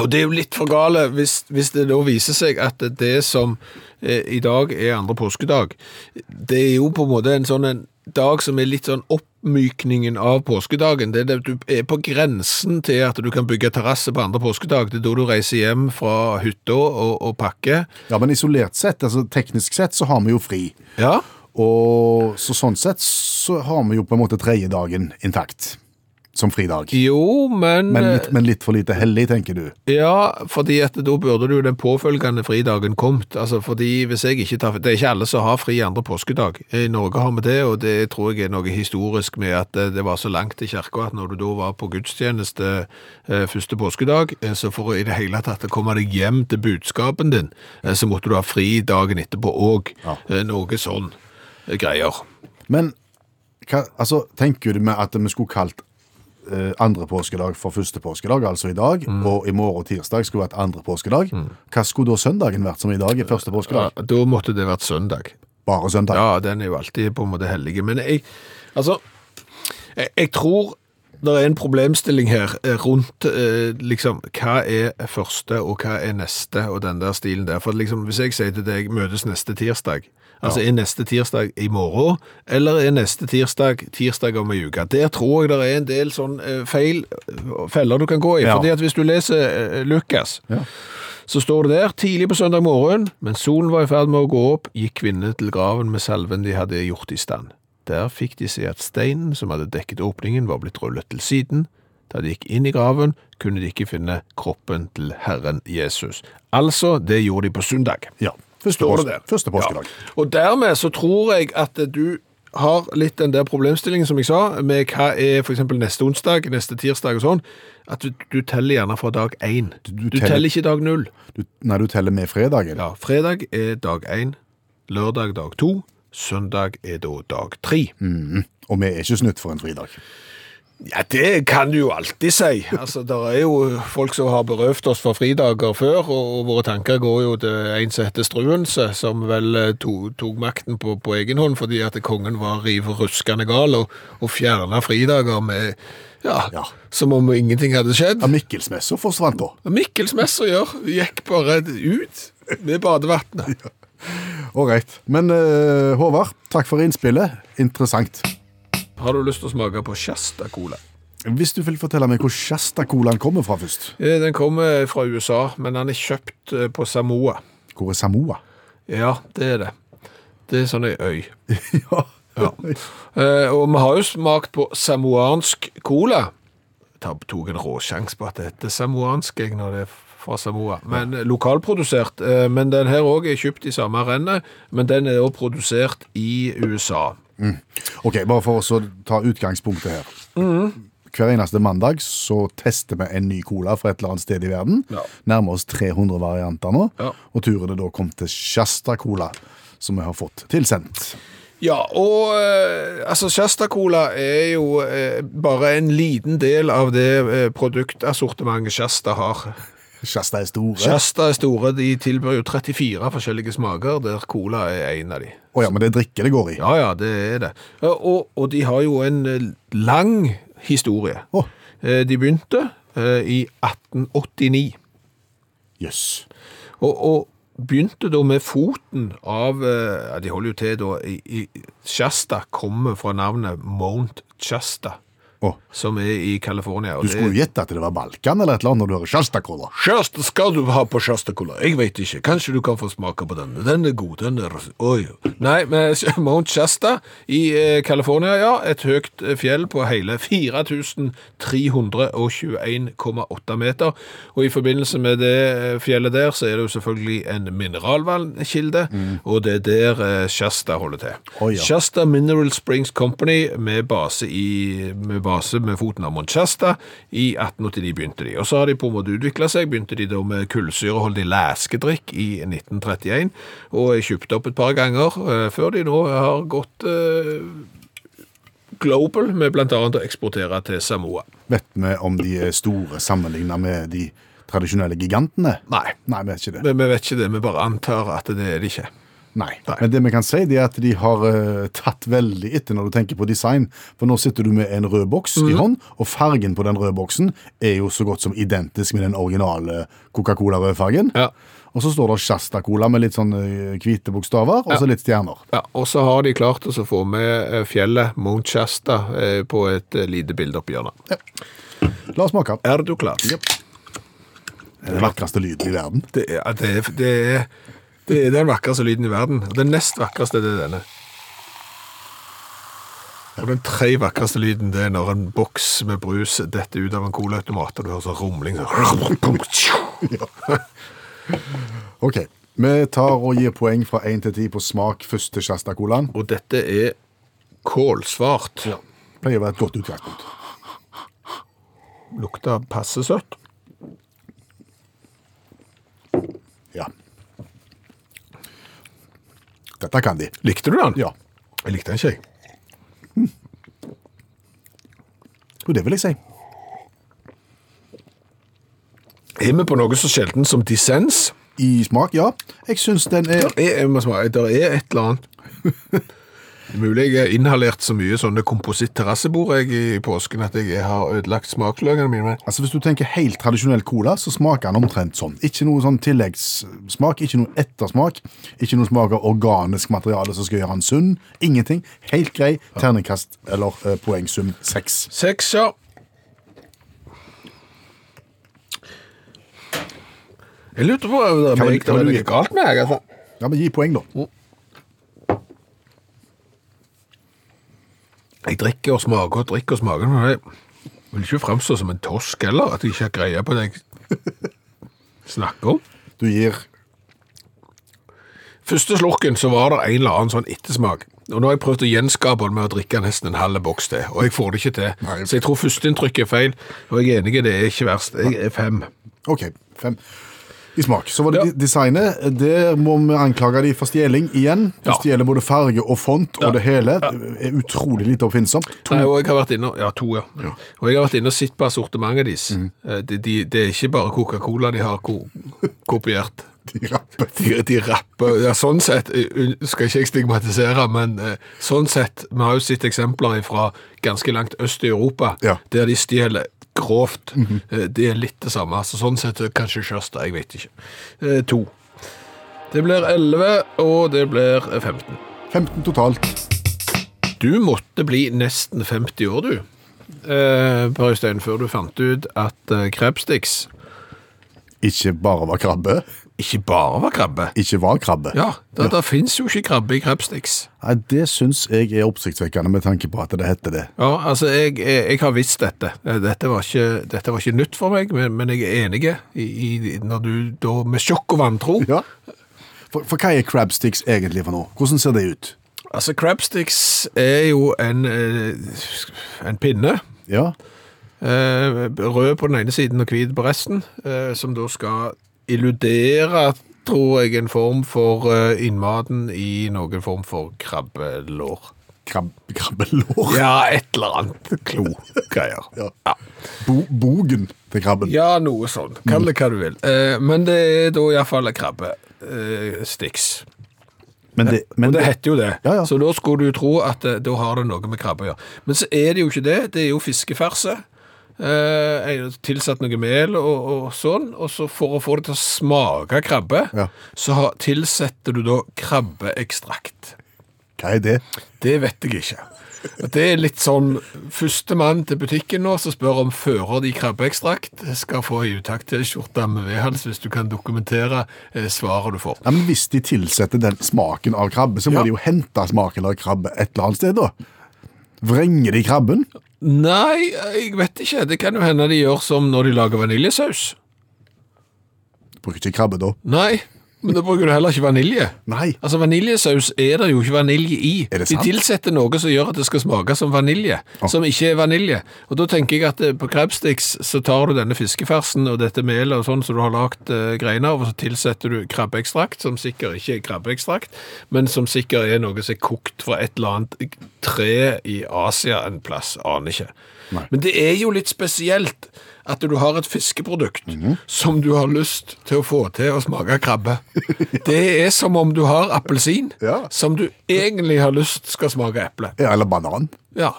[SPEAKER 2] Og det er jo litt for gale hvis, hvis det da viser seg at det som eh, i dag er andre påskedag, det er jo på en måte en sånn en dag som er litt sånn oppmykningen av påskedagen. Det er det du er på grensen til at du kan bygge terrasse på andre påskedag. Det er da du reiser hjem fra hytta og, og pakker.
[SPEAKER 3] Ja, men isolert sett, altså teknisk sett, så har vi jo fri.
[SPEAKER 2] Ja.
[SPEAKER 3] Og så sånn sett så har vi jo på en måte tredje dagen intakt som fridag.
[SPEAKER 2] Jo, men,
[SPEAKER 3] Men litt, men litt for lite hellig, tenker du.
[SPEAKER 2] Ja, fordi at da burde du den påfølgende fridagen kommet. Altså, fordi hvis jeg ikke tar, Det er ikke alle som har fri andre påskedag. I Norge har vi det, og det tror jeg er noe historisk med at eh, det var så langt til kirka at når du da var på gudstjeneste eh, første påskedag, eh, så for å i det hele tatt å komme deg hjem til budskapen din, eh, så måtte du ha fri dagen etterpå òg.
[SPEAKER 3] Ja.
[SPEAKER 2] Eh, noe sånn eh, greier.
[SPEAKER 3] Men hva, altså, tenker du med at vi skulle kalt eh, andre påskedag for første påskedag, altså i dag,
[SPEAKER 2] Mm.
[SPEAKER 3] og i morgen og tirsdag skulle vært andre påskedag? Hva skulle da søndagen vært som i dag er første
[SPEAKER 2] Ja,
[SPEAKER 3] påskedag?
[SPEAKER 2] da måtte det vært søndag.
[SPEAKER 3] Bare søndag.
[SPEAKER 2] Ja, den er jo alltid på en måte hellige. Men jeg, altså, jeg, jeg tror det er en problemstilling her eh, rundt eh, liksom, hva er første og hva er neste, og den der stilen der. For liksom, hvis jeg sier til deg møtes neste tirsdag, altså er neste tirsdag i morgen, eller er neste tirsdag tirsdag om en uke? Der tror jeg det er en del sånn eh, feil eh, feller du kan gå i.
[SPEAKER 3] Ja.
[SPEAKER 2] Fordi at hvis du leser eh, Lukas, så står det der, tidlig på søndag morgen, mens solen var i ferd med å gå opp, gikk kvinnene til graven med salven de hadde gjort i stand. Der fikk de se at steinen som hadde dekket åpningen var blitt rullet til siden. Da de gikk inn i graven, kunne de ikke finne kroppen til Herren Jesus. Altså, det gjorde de på søndag.
[SPEAKER 3] Ja. Første,
[SPEAKER 2] Står
[SPEAKER 3] pås
[SPEAKER 2] det der.
[SPEAKER 3] første påskedag.
[SPEAKER 2] Ja. Og dermed så tror jeg at du har litt den der problemstillingen som jeg sa, med hva er for eksempel neste onsdag, neste tirsdag og sånn, at du, du teller gjerne fra dag én.
[SPEAKER 3] du
[SPEAKER 2] du
[SPEAKER 3] teller-
[SPEAKER 2] teller ikke dag null.
[SPEAKER 3] Du, nei, du teller med fredagen.
[SPEAKER 2] Ja, fredag er dag 1, lørdag dag 2, søndag er da dag 3.
[SPEAKER 3] Og vi er ikke snytt for en fridag.
[SPEAKER 2] Ja, det kan du jo alltid si. Altså, Det er jo folk som har berøvd oss for fridager før, og, og våre tanker går jo til en som heter Struense, som vel eh, to, tok makten på, på egen hånd fordi at kongen var riv ruskende gal og, og fjerna fridager med ja,
[SPEAKER 3] Ja.
[SPEAKER 2] som om ingenting hadde skjedd.
[SPEAKER 3] Ja, Mikkelsmessa forsvant da.
[SPEAKER 2] Mikkelsmessa gjør, gikk bare ut med badevannet.
[SPEAKER 3] Ålreit. Men eh, Håvard, takk for innspillet. Interessant.
[SPEAKER 2] Har du lyst til å smake på Shasta-cola?
[SPEAKER 3] Hvis du vil fortelle meg hvor Shasta-colaen kommer fra først.
[SPEAKER 2] Eh, Den kommer fra USA, men den er kjøpt eh, på Samoa.
[SPEAKER 3] Hvor er Samoa?
[SPEAKER 2] Ja, det er det. Det er sånn ei øy.
[SPEAKER 3] ja.
[SPEAKER 2] Eh, og vi har jo smakt på samoansk cola. Jeg tok en råsjanse på at det heter samoansk jeg, når det er fra Samoa. Men eh, lokalprodusert. Eh, men den her òg er kjøpt i samme rennet, men den er også produsert i USA.
[SPEAKER 3] Ok, bare for å ta utgangspunktet her. Hver eneste mandag så tester vi en ny cola fra et eller annet sted i verden.
[SPEAKER 2] Ja.
[SPEAKER 3] Nærmer oss 300 varianter nå,
[SPEAKER 2] Ja.
[SPEAKER 3] og turen er da kommet til Shasta Cola, som vi har fått tilsendt.
[SPEAKER 2] Ja, og eh, altså Shasta-cola er jo eh, bare en liten del av det eh, produktassortimentet Shasta har.
[SPEAKER 3] Shasta er store.
[SPEAKER 2] Shasta er store, de tilbyr jo 34 forskjellige smaker, der cola er en av de.
[SPEAKER 3] Å ja, men det er drikke det går i.
[SPEAKER 2] Ja, ja, det er det. Eh, Og, og de har jo en eh, lang historie.
[SPEAKER 3] Å.
[SPEAKER 2] Eh, De begynte eh, i 1889,
[SPEAKER 3] Jøss.
[SPEAKER 2] og, og begynte da med foten av eh, ja, De holder jo til da i, i Shasta, kommer fra navnet Mount Shasta,
[SPEAKER 3] Å,
[SPEAKER 2] som er i California. og
[SPEAKER 3] Du
[SPEAKER 2] det-
[SPEAKER 3] skulle jo gjette at det var Balkan eller et eller annet når du hører Shasta Cola.
[SPEAKER 2] Shasta skal du ha på Shasta-cola? Jeg vet ikke. Kanskje du kan få smake på denne. Den er god. Den er Oi. Nei, men Mount Shasta i eh, California, ja. Et høyt eh, fjell på hele 4321,8 meter. Og i forbindelse med det eh, fjellet der, så er det jo selvfølgelig en mineralvannkilde, og det er der eh, Shasta holder til.
[SPEAKER 3] Mm. Å, ja.
[SPEAKER 2] Shasta Mineral Springs Company med base, i, med base med foten av Monchasta. I 1889 begynte de. Og så har de på en måte utvikla seg. Begynte de da med kullsyreholdig læskedrikk i 1931. Og er kjøpt opp et par ganger eh, før de nå har gått eh, global med bl.a. å eksportere til Samoa.
[SPEAKER 3] Vet vi om de er store sammenlignet med de tradisjonelle gigantene?
[SPEAKER 2] Nei.
[SPEAKER 3] Nei, vi vet ikke det.
[SPEAKER 2] Men vi vet ikke det. Vi bare antar at det er det ikke.
[SPEAKER 3] Nei.
[SPEAKER 2] Nei.
[SPEAKER 3] Men det vi kan si det er at de har eh, tatt veldig etter når du tenker på design. For nå sitter du med en rød boks
[SPEAKER 2] Mhm.
[SPEAKER 3] i hånd, og fargen på den røde boksen er jo så godt som identisk med den originale Coca-Cola-rødfargen.
[SPEAKER 2] Ja.
[SPEAKER 3] Og så står det Shasta-Cola med litt sånn eh, hvite bokstaver, og så litt stjerner.
[SPEAKER 2] Ja, og så har de klart å så få med eh, fjellet Monchasta eh, på et eh, lite bilde oppi hjørnet.
[SPEAKER 3] La oss smake.
[SPEAKER 2] Er du klar?
[SPEAKER 3] Det er Den vakreste lyden i verden.
[SPEAKER 2] Det er, ja, det, er, det, er, det er den vakreste lyden i verden. Og den nest vakreste det er denne. Og den tre vakreste lyden det er når en boks med brus detter ut av en colaautomat, og du hører sånn rumling sånn.
[SPEAKER 3] Ok, vi tar og gir poeng fra 1 til 10 på smak først til Shasta-Colaen.
[SPEAKER 2] Og dette er kålsvart.
[SPEAKER 3] Pleier å være et godt utgangspunkt.
[SPEAKER 2] Lukter passe søtt.
[SPEAKER 3] Ja. Dette kan de.
[SPEAKER 2] Likte du den?
[SPEAKER 3] Ja.
[SPEAKER 2] Jeg likte den ikke, jeg.
[SPEAKER 3] Jo, det vil jeg si.
[SPEAKER 2] Er vi på noe så sjelden som dissens?
[SPEAKER 3] I smak, ja. Jeg syns den er
[SPEAKER 2] Der er, jeg må svare, der er et eller annet. Det er Mulig jeg har inhalert så mye sånne kompositt-terrassebord jeg i påsken at jeg har ødelagt smaksløkene mine.
[SPEAKER 3] Altså Hvis du tenker helt tradisjonell cola, så smaker den omtrent sånn. Ikke noe sånn tilleggssmak, ikke noe ettersmak, ikke noe smak av organisk materiale som skal gjøre den sunn. Ingenting. Helt grei terningkast eller eh, poengsum seks.
[SPEAKER 2] Seks, ja. Jeg lurte på om det
[SPEAKER 3] Kan vi-
[SPEAKER 2] er
[SPEAKER 3] kan vi
[SPEAKER 2] noe
[SPEAKER 3] gi-
[SPEAKER 2] galt med jeg, altså.
[SPEAKER 3] Ja, men gi poeng, da.
[SPEAKER 2] Jeg drikker og smaker og drikker og smaker, men jeg vil ikke fremstå som en tosk heller, at jeg ikke har greie på det jeg snakker om.
[SPEAKER 3] Du gir
[SPEAKER 2] Første slurken så var det en eller annen sånn ettersmak. Og nå har jeg prøvd å gjenskape den med å drikke nesten en halv boks til, og jeg får det ikke til. Så jeg tror førsteinntrykket er feil, og jeg er enig, det er ikke verst. Jeg er fem.
[SPEAKER 3] OK, fem. i smak. Så var det
[SPEAKER 2] Ja.
[SPEAKER 3] de- designet. Der må vi anklage de for stjeling igjen. De
[SPEAKER 2] Ja.
[SPEAKER 3] stjeler både farge og font og det hele. Det er utrolig lite oppfinnsomt.
[SPEAKER 2] Nei, og jeg har vært inne og- ja, to, ja. Og jeg har vært inne og sett på assortimentet deres. Eh, De, de, det er ikke bare Coca-Cola de har ko kopiert.
[SPEAKER 3] De rapper.
[SPEAKER 2] De, de rapper ja, Sånn sett eh, un- skal ikke jeg stigmatisere, men eh, sånn sett Vi har jo sett eksempler fra ganske langt øst i Europa
[SPEAKER 3] Ja.
[SPEAKER 2] der de stjeler grovt. Eh, Det er litt det samme. Så sånn sett eh, kanskje Sjørstad, jeg vet ikke. Eh, To. Det blir 11, og det blir 15.
[SPEAKER 3] 15 totalt.
[SPEAKER 2] Du måtte bli nesten 50 år, du. Eh, per Øystein, før du fant ut at eh, krebsticks
[SPEAKER 3] Ikke bare var krabbe.
[SPEAKER 2] ikke bare var krabbe.
[SPEAKER 3] Ikke var krabbe.
[SPEAKER 2] Ja, det, det fins jo ikke krabbe i krebsticks.
[SPEAKER 3] Nei, det syns jeg er oppsiktsvekkende med tanke på at det heter det.
[SPEAKER 2] Ja, altså, jeg, jeg, jeg har visst dette. Eh, Dette var ikke, dette var ikke nytt for meg, men, men jeg er enig i, i når du da med sjokk og vantro
[SPEAKER 3] Ja. For, for hva er crabsticks egentlig for noe? Hvordan ser det ut?
[SPEAKER 2] Altså, crabsticks er jo en, eh, en pinne.
[SPEAKER 3] Ja,
[SPEAKER 2] Eh, rød på den ene siden og hvit på resten, eh, som da skal illudere, tror jeg, en form for eh, innmaten i noen form for krabbelår.
[SPEAKER 3] krab, krabbelår.
[SPEAKER 2] Ja, et eller annet klo-greier.
[SPEAKER 3] Ja. Bo, bogen til krabben.
[SPEAKER 2] Ja, noe sånn. Kall det hva du vil. Eh, men det er da iallfall krabbe. Eh, Stix.
[SPEAKER 3] Men det, men
[SPEAKER 2] Og det
[SPEAKER 3] det,
[SPEAKER 2] heter jo det.
[SPEAKER 3] Ja, ja.
[SPEAKER 2] Så da skulle du tro at eh, da har det noe med krabbe å gjøre. Men så er det jo ikke det. Det er jo fiskefarse. Eh, er jo tilsatt noe mel og, og sånn. Og så for å få det til å smake krabbe,
[SPEAKER 3] Ja.
[SPEAKER 2] så har, tilsetter du da krabbeekstrakt.
[SPEAKER 3] hva er det?
[SPEAKER 2] Det vet jeg ikke. Det er litt sånn førstemann til butikken nå som spør om fører de krabbeekstrakt, skal få ei utakt-T-skjorte med vedhals hvis du kan dokumentere eh, svaret du får.
[SPEAKER 3] Ja, men Hvis de tilsetter den smaken av krabbe, så må
[SPEAKER 2] Ja.
[SPEAKER 3] de jo hente smaken av krabbe et eller annet sted, da. Vrenger de krabben?
[SPEAKER 2] Nei, jeg vet ikke. Det kan jo hende de gjør som når de lager vaniljesaus.
[SPEAKER 3] Bruker ikke krabbe da.
[SPEAKER 2] Nei, men da bruker du heller ikke vanilje.
[SPEAKER 3] Nei.
[SPEAKER 2] Altså, Vaniljesaus er det jo ikke vanilje i.
[SPEAKER 3] Er det
[SPEAKER 2] de
[SPEAKER 3] sant?
[SPEAKER 2] tilsetter noe som gjør at det skal smake som vanilje, som ikke er vanilje. Og Da tenker jeg at eh, på crabsticks så tar du denne fiskefersen og dette melet og sånn som du har lagd eh, greiner av, og så tilsetter du krabbeekstrakt, som sikkert ikke er krabbeekstrakt, men som sikkert er noe som er kokt fra et eller annet tre i Asia en plass. Aner ikke. Men det er jo litt spesielt at du har et fiskeprodukt som du har lyst til å få til å smake krabbe. Det er som om du har appelsin
[SPEAKER 3] Ja.
[SPEAKER 2] som du egentlig har lyst skal smake eple.
[SPEAKER 3] Ja, Eller banan.
[SPEAKER 2] Ja.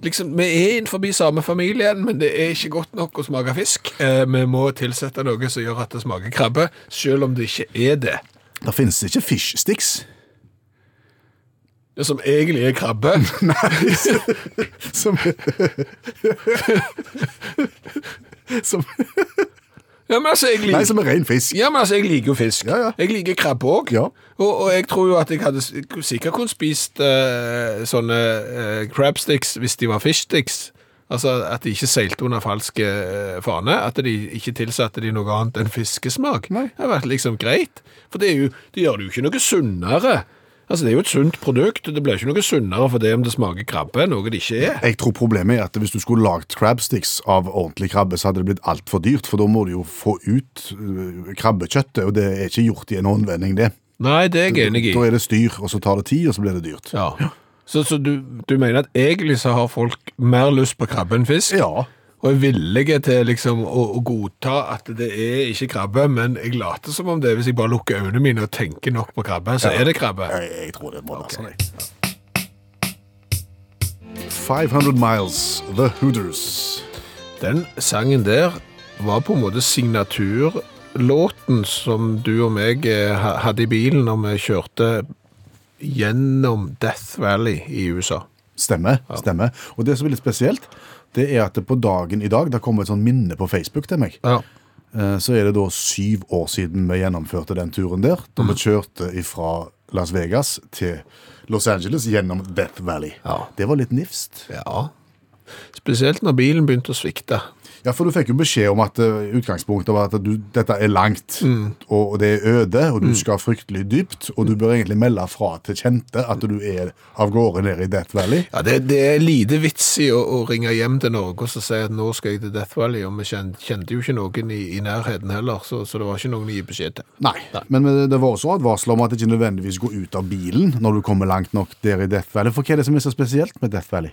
[SPEAKER 2] Liksom, vi er innenfor samme familien, men det er ikke godt nok å smake fisk. Eh, vi må tilsette noe som gjør at det smaker krabbe, selv om det ikke er det.
[SPEAKER 3] Det finnes ikke fish sticks.
[SPEAKER 2] Det som egentlig er krabbe.
[SPEAKER 3] Som Som,
[SPEAKER 2] Ja, men altså, jeg liker
[SPEAKER 3] nei, som er ren fisk.
[SPEAKER 2] Ja, men altså, jeg liker jo fisk.
[SPEAKER 3] Ja, ja.
[SPEAKER 2] Jeg liker krabbe òg.
[SPEAKER 3] Ja.
[SPEAKER 2] Og, og jeg tror jo at jeg hadde s- sikkert kunne spist eh, sånne eh, crab sticks hvis de var fish sticks. Altså at de ikke seilte under falsk eh, fane. At de ikke tilsatte de noe annet enn fiskesmak.
[SPEAKER 3] Nei.
[SPEAKER 2] Det hadde vært liksom greit. For det, er jo, det gjør det jo ikke noe sunnere. Altså Det er jo et sunt produkt, og det blir ikke noe sunnere for det om det smaker krabbe, noe det ikke er.
[SPEAKER 3] Jeg tror problemet er at hvis du skulle lagd crabsticks av ordentlig krabbe, så hadde det blitt altfor dyrt, for da må du jo få ut øh, krabbekjøttet, og det er ikke gjort i en håndvending, det.
[SPEAKER 2] Nei, det er jeg enig i.
[SPEAKER 3] Da er det styr, og så tar det tid, og så blir det dyrt.
[SPEAKER 2] Ja. Så, så du, du mener at egentlig så har folk mer lyst på krabbe enn fisk?
[SPEAKER 3] Ja.
[SPEAKER 2] Og er villige til liksom å, å godta at det er ikke krabbe, men jeg later som om det er hvis jeg bare lukker øynene mine og tenker nok på krabbe, så er det krabbe.
[SPEAKER 3] Jeg, jeg tror det må være sånn. jeg. 500 Miles, The Hooters.
[SPEAKER 2] Den sangen der var på en måte signaturlåten som du og meg eh, ha- hadde i bilen når vi kjørte gjennom Death Valley i USA.
[SPEAKER 3] Stemmer. stemmer. Og det som er litt spesielt, det er at det på dagen i dag, det kommer et sånn minne på Facebook til meg.
[SPEAKER 2] Ja.
[SPEAKER 3] Eh, Så er det da syv år siden vi gjennomførte den turen der. Da vi kjørte fra Las Vegas til Los Angeles gjennom Death Valley.
[SPEAKER 2] Ja.
[SPEAKER 3] Det var litt nifst.
[SPEAKER 2] ja. Spesielt når bilen begynte å svikte.
[SPEAKER 3] Ja, for du fikk jo beskjed om at eh, utgangspunktet var at du, dette er langt, og, og det er øde, og du skal fryktelig dypt, og du bør egentlig melde fra til kjente at du er av gårde nede i Death Valley.
[SPEAKER 2] Ja, Det, det er lite vits i å, å ringe hjem til Norge og så si at nå skal jeg til Death Valley, og vi kjente, kjente jo ikke noen i, i nærheten heller, så, så det var ikke noen å gi beskjed til.
[SPEAKER 3] Nei, men det var også advarsler om at det ikke nødvendigvis går ut av bilen når du kommer langt nok der i Death Valley. For hva er det som er så spesielt med Death Valley?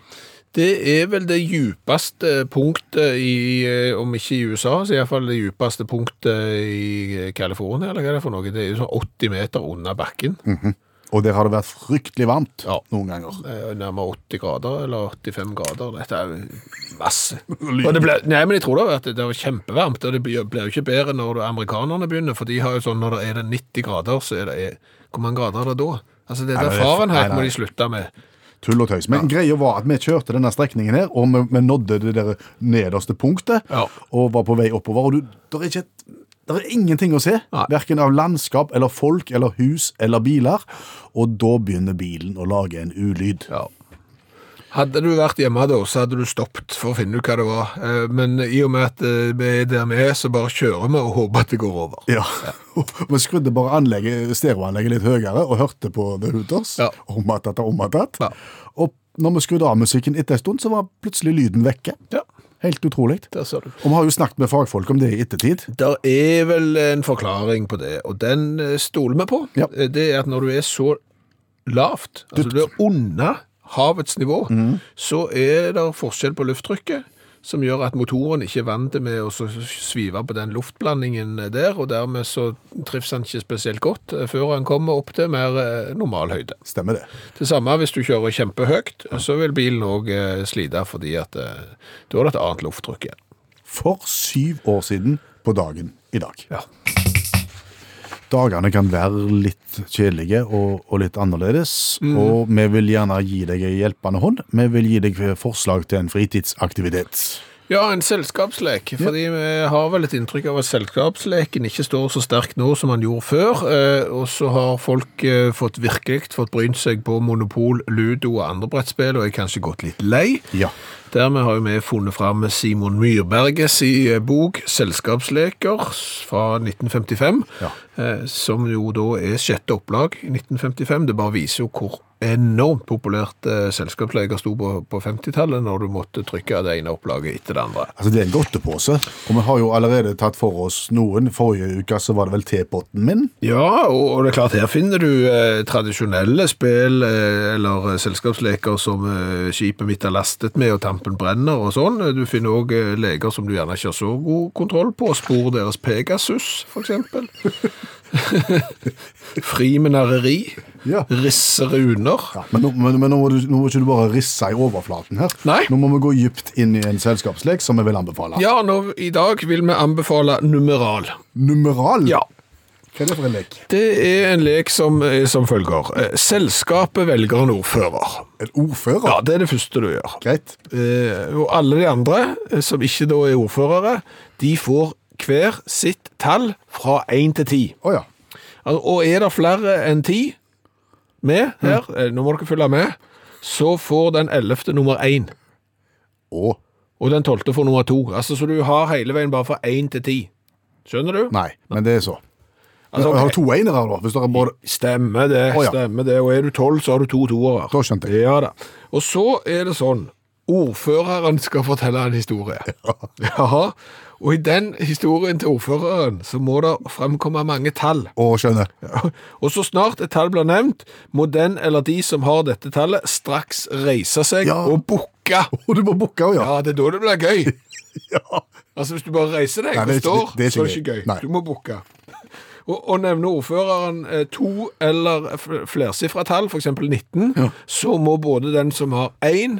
[SPEAKER 2] Det er vel det djupeste punktet i, eh, om ikke i USA, så iallfall det djupeste punktet i California, eller hva er det for noe? Det er jo sånn 80 meter under bakken.
[SPEAKER 3] Og der har det vært fryktelig varmt
[SPEAKER 2] Ja.
[SPEAKER 3] noen ganger.
[SPEAKER 2] Eh, Nærmere 80 grader, eller 85 grader. Dette er jo masse. Og det ble, nei, men jeg tror det har vært det var kjempevarmt, og det blir blir jo ikke bedre når det- amerikanerne begynner, for de har jo sånn, når det er det 90 grader, så er det Hvor mange grader er det da? Altså, det er
[SPEAKER 3] Nei, det er-
[SPEAKER 2] erfarenhet
[SPEAKER 3] nei,
[SPEAKER 2] må
[SPEAKER 3] nei.
[SPEAKER 2] de slutte med.
[SPEAKER 3] Tull og tøys. Men greia var at vi kjørte denne strekningen her, og vi, vi nådde det der nederste punktet,
[SPEAKER 2] Ja.
[SPEAKER 3] og var på vei oppover. Og du, der er ikke et der er ingenting å se,
[SPEAKER 2] Nei.
[SPEAKER 3] verken av landskap eller folk eller hus eller biler. Og da begynner bilen å lage en ulyd.
[SPEAKER 2] Ja. Hadde du vært hjemme da, så hadde du stoppet for å finne ut hva det var. Eh, Men i og med at eh, vi er der vi er, så bare kjører vi og håper at det går over.
[SPEAKER 3] Ja. Vi skrudde bare anlegget, stereoanlegget litt høyere og hørte på The Hooters.
[SPEAKER 2] Ja.
[SPEAKER 3] Omattatt og omattatt.
[SPEAKER 2] Ja.
[SPEAKER 3] Og når vi skrudde av musikken etter en stund, så var plutselig lyden vekke.
[SPEAKER 2] Ja,
[SPEAKER 3] Helt utrolig.
[SPEAKER 2] der ser du.
[SPEAKER 3] Og vi har jo snakket med fagfolk om det i ettertid.
[SPEAKER 2] Der er vel en forklaring på det, og den eh, stoler vi på.
[SPEAKER 3] Ja.
[SPEAKER 2] Eh, Det er at når du er så lavt, altså du er unna havets nivå, så er det forskjell på lufttrykket, som gjør at motoren ikke er vant med å så svive på den luftblandingen eh, der, og dermed så trivs han ikke spesielt godt eh, før han kommer opp til mer eh, normal høyde.
[SPEAKER 3] Stemmer det.
[SPEAKER 2] Det samme hvis du kjører kjempehøyt, så vil bilen òg slite fordi at eh, da er det et annet lufttrykk igjen.
[SPEAKER 3] For syv år siden på dagen i dag. Dagene kan være litt kjedelige og, og litt annerledes,
[SPEAKER 2] Mm.
[SPEAKER 3] og vi vil gjerne gi deg en hjelpende hånd. Vi vil gi deg forslag til en fritidsaktivitet.
[SPEAKER 2] Ja, en selskapslek. Fordi vi har vel et inntrykk av at selskapsleken ikke står så sterkt nå som han gjorde før. eh, Og så har folk eh, fått virkelig fått brynt seg på Monopol, Ludo og andre brettspill, og er kanskje gått litt lei.
[SPEAKER 3] Ja.
[SPEAKER 2] Dermed har jo vi funnet fram Simon Myrberges i eh, bok 'Selskapsleker' fra 1955,
[SPEAKER 3] Ja.
[SPEAKER 2] eh, som jo da er sjette opplag i 1955. Det bare viser jo hvor enormt populært eh, selskapsleker sto på, på 50-tallet, når du måtte trykke det ene opplaget etter det andre.
[SPEAKER 3] Altså, det er en godtepose, og vi har jo allerede tatt for oss noen. Forrige uke så var det vel tepotten min.
[SPEAKER 2] Ja, og, og det er klart her finner du eh, tradisjonelle spill eh, eller eh, selskapsleker som eh, skipet mitt er lastet med og tampen brenner og sånn. Du finner òg eh, leker som du gjerne ikke har så god kontroll på. Spor deres Pegasus, for eksempel. Frimenareri.
[SPEAKER 3] Ja.
[SPEAKER 2] Risse runer.
[SPEAKER 3] Ja, men nå, men, men nå, må du, nå må ikke du bare risse i overflaten her.
[SPEAKER 2] Nei.
[SPEAKER 3] Nå må vi gå dypt inn i en selskapslek som vi vil anbefale.
[SPEAKER 2] Ja, nå, i dag vil vi anbefale numeral.
[SPEAKER 3] Numeral? Hva er det for en lek?
[SPEAKER 2] Det er en lek som er som følger. Eh, Selskapet velger en ordfører.
[SPEAKER 3] En ordfører?
[SPEAKER 2] Ja, det er det første du gjør.
[SPEAKER 3] Greit.
[SPEAKER 2] Eh, og alle de andre, eh, som ikke da er ordførere, de får hver sitt tall fra 1 til 10.
[SPEAKER 3] Å ja.
[SPEAKER 2] Al- Og er det flere enn 10 med her,
[SPEAKER 3] Mm.
[SPEAKER 2] eh, nå må dere følge med, så får den 11. nummer 1,
[SPEAKER 3] Å,
[SPEAKER 2] og den 12. får nummer 2. Altså, så du har hele veien bare fra 1 til 10. Skjønner du?
[SPEAKER 3] nei, men det er så.
[SPEAKER 2] Altså,
[SPEAKER 3] Jeg
[SPEAKER 2] ok.
[SPEAKER 3] har to enere her, da. Hvis dere både
[SPEAKER 2] Stemmer det,
[SPEAKER 3] Å, ja.
[SPEAKER 2] stemmer det. Og er du 12, så har du to toere.
[SPEAKER 3] Da skjønte jeg.
[SPEAKER 2] Ja da. Og så er det sånn, ordføreren skal fortelle en historie. Jaha. Og i den historien til ordføreren så må det fremkomme mange tall.
[SPEAKER 3] Å, skjønner.
[SPEAKER 2] Og så snart et tall blir nevnt, må den eller de som har dette tallet, straks reise seg
[SPEAKER 3] Ja.
[SPEAKER 2] og bukke.
[SPEAKER 3] Og du må booke òg, ja.
[SPEAKER 2] Ja, det er da det blir gøy.
[SPEAKER 3] ja.
[SPEAKER 2] Altså Hvis du bare reiser deg
[SPEAKER 3] Nei, det er
[SPEAKER 2] og står,
[SPEAKER 3] ikke- det er ikke
[SPEAKER 2] så er det ikke
[SPEAKER 3] gøy.
[SPEAKER 2] gøy.
[SPEAKER 3] Nei.
[SPEAKER 2] Du må booke. Og, og nevner ordføreren eh, to eller f- flersifra tall, f.eks. 19, så må både den som har én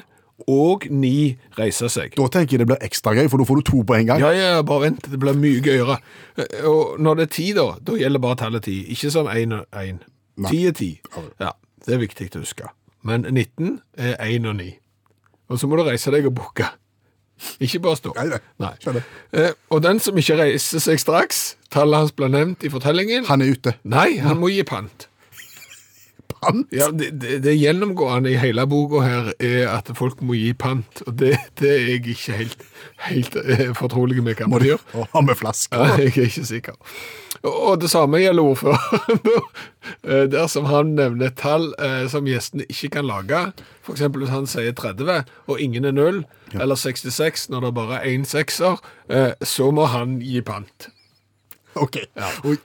[SPEAKER 2] og ni reise seg.
[SPEAKER 3] Da tenker jeg det blir ekstra gøy, for da får du to på en gang.
[SPEAKER 2] Ja, ja, ja, bare vent, det blir mye gøyere. Eh, Og når det er ti, da, da gjelder bare tallet ti. Ikke som én og én. Ti er ti. Ja, det er viktig å huske. Men 19 er én og ni. Og så må du reise deg og bukke. Ikke bare stå.
[SPEAKER 3] Nei, nei.
[SPEAKER 2] Nei.
[SPEAKER 3] Skjønner.
[SPEAKER 2] Eh, og den som ikke reiser seg straks, tallet hans blir nevnt i fortellingen.
[SPEAKER 3] Han er ute.
[SPEAKER 2] Nei, han må gi pant.
[SPEAKER 3] pant.
[SPEAKER 2] Ja, det, det, det gjennomgående i hele boka her er at folk må gi pant, og det, det er jeg ikke helt, helt eh, fortrolig med hva
[SPEAKER 3] Må
[SPEAKER 2] man
[SPEAKER 3] de
[SPEAKER 2] gjør.
[SPEAKER 3] og ha med flasker?
[SPEAKER 2] Ja, jeg er ikke sikker. Og og det samme gjelder ordføreren. Eh, Dersom han nevner et tall eh, som gjestene ikke kan lage, f.eks. hvis han sier 30 og ingen er 0, eller 66 når det bare er én sekser, eh, så må han gi pant.
[SPEAKER 3] Ok. Og,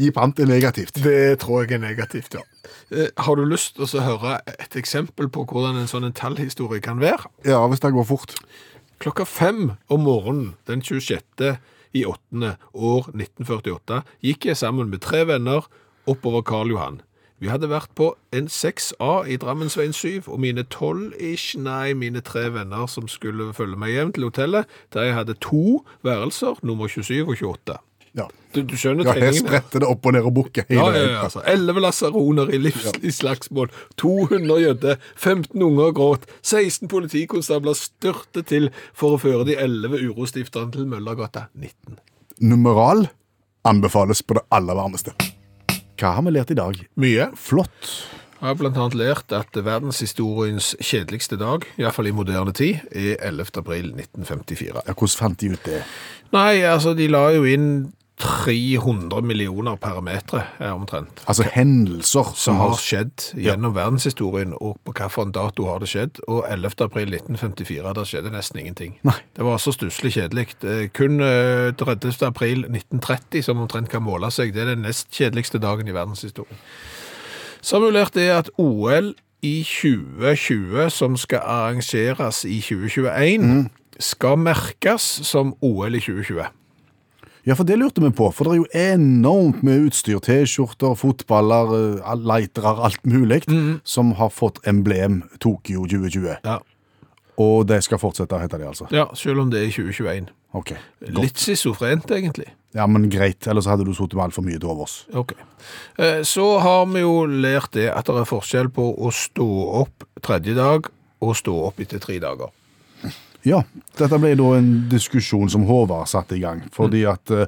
[SPEAKER 3] gi pant er negativt.
[SPEAKER 2] Det tror jeg er negativt, ja. Eh, Har du lyst til å høre et eksempel på hvordan en sånn en tallhistorie kan være?
[SPEAKER 3] Ja, hvis det går fort.
[SPEAKER 2] Klokka fem om morgenen den 26. i 8. år 1948 gikk jeg sammen med tre venner oppover Karl Johan. Vi hadde vært på en 6A i Drammensveien 7, og mine tolv ish, nei, mine tre venner som skulle følge meg hjem til hotellet, der jeg hadde to værelser, nummer 27 og 28.
[SPEAKER 3] Ja.
[SPEAKER 2] Du, du skjønner
[SPEAKER 3] Ja, jeg
[SPEAKER 2] tegningen? her?
[SPEAKER 3] spretter det opp og ned og bukker hele
[SPEAKER 2] Ja, ja,
[SPEAKER 3] veien.
[SPEAKER 2] ja, altså. 11 lasaroner i livslig slagsmål, 200 jødder, 15 unger gråt, 16 politikonstabler styrte til for å føre de 11 urostifterne til Møllergata 19.
[SPEAKER 3] Numeral anbefales på det aller varmeste. Hva har vi lært i dag?
[SPEAKER 2] Mye.
[SPEAKER 3] Flott.
[SPEAKER 2] Jeg har blant annet lært at verdenshistoriens kjedeligste dag, iallfall i moderne tid, er 11. april 1954.
[SPEAKER 3] Ja, hvordan fant de ut det?
[SPEAKER 2] Nei, altså, de la jo inn 300 millioner parametre, eh, omtrent.
[SPEAKER 3] Altså hendelser
[SPEAKER 2] som har skjedd gjennom verdenshistorien, og på hvilken dato har det skjedd. Og 11. april 1954, der skjedde nesten ingenting.
[SPEAKER 3] Nei.
[SPEAKER 2] Det var så stusslig kjedelig. Eh, Kun eh, 30. april 1930, som omtrent kan måle seg, det er den nest kjedeligste dagen i verdenshistorien. Samulert er at OL i 2020, som skal arrangeres i 2021, skal merkes som OL i 2020.
[SPEAKER 3] Ja, for det lurte vi på, for det er jo enormt med utstyr, T-skjorter, fotballer, eh, lightere, alt mulig, som har fått emblem Tokyo 2020.
[SPEAKER 2] Ja.
[SPEAKER 3] Og det skal fortsette, heter det altså.
[SPEAKER 2] ja, selv om det er i 2021.
[SPEAKER 3] Ok, godt.
[SPEAKER 2] Litt schizofrent, egentlig.
[SPEAKER 3] Ja, men greit, ellers hadde du sittet med altfor mye til overs.
[SPEAKER 2] Ok. Eh, Så har vi jo lært det at det er forskjell på å stå opp tredje dag og stå opp etter tre dager.
[SPEAKER 3] Ja, dette ble da en diskusjon som Håvard satte i gang, fordi at eh,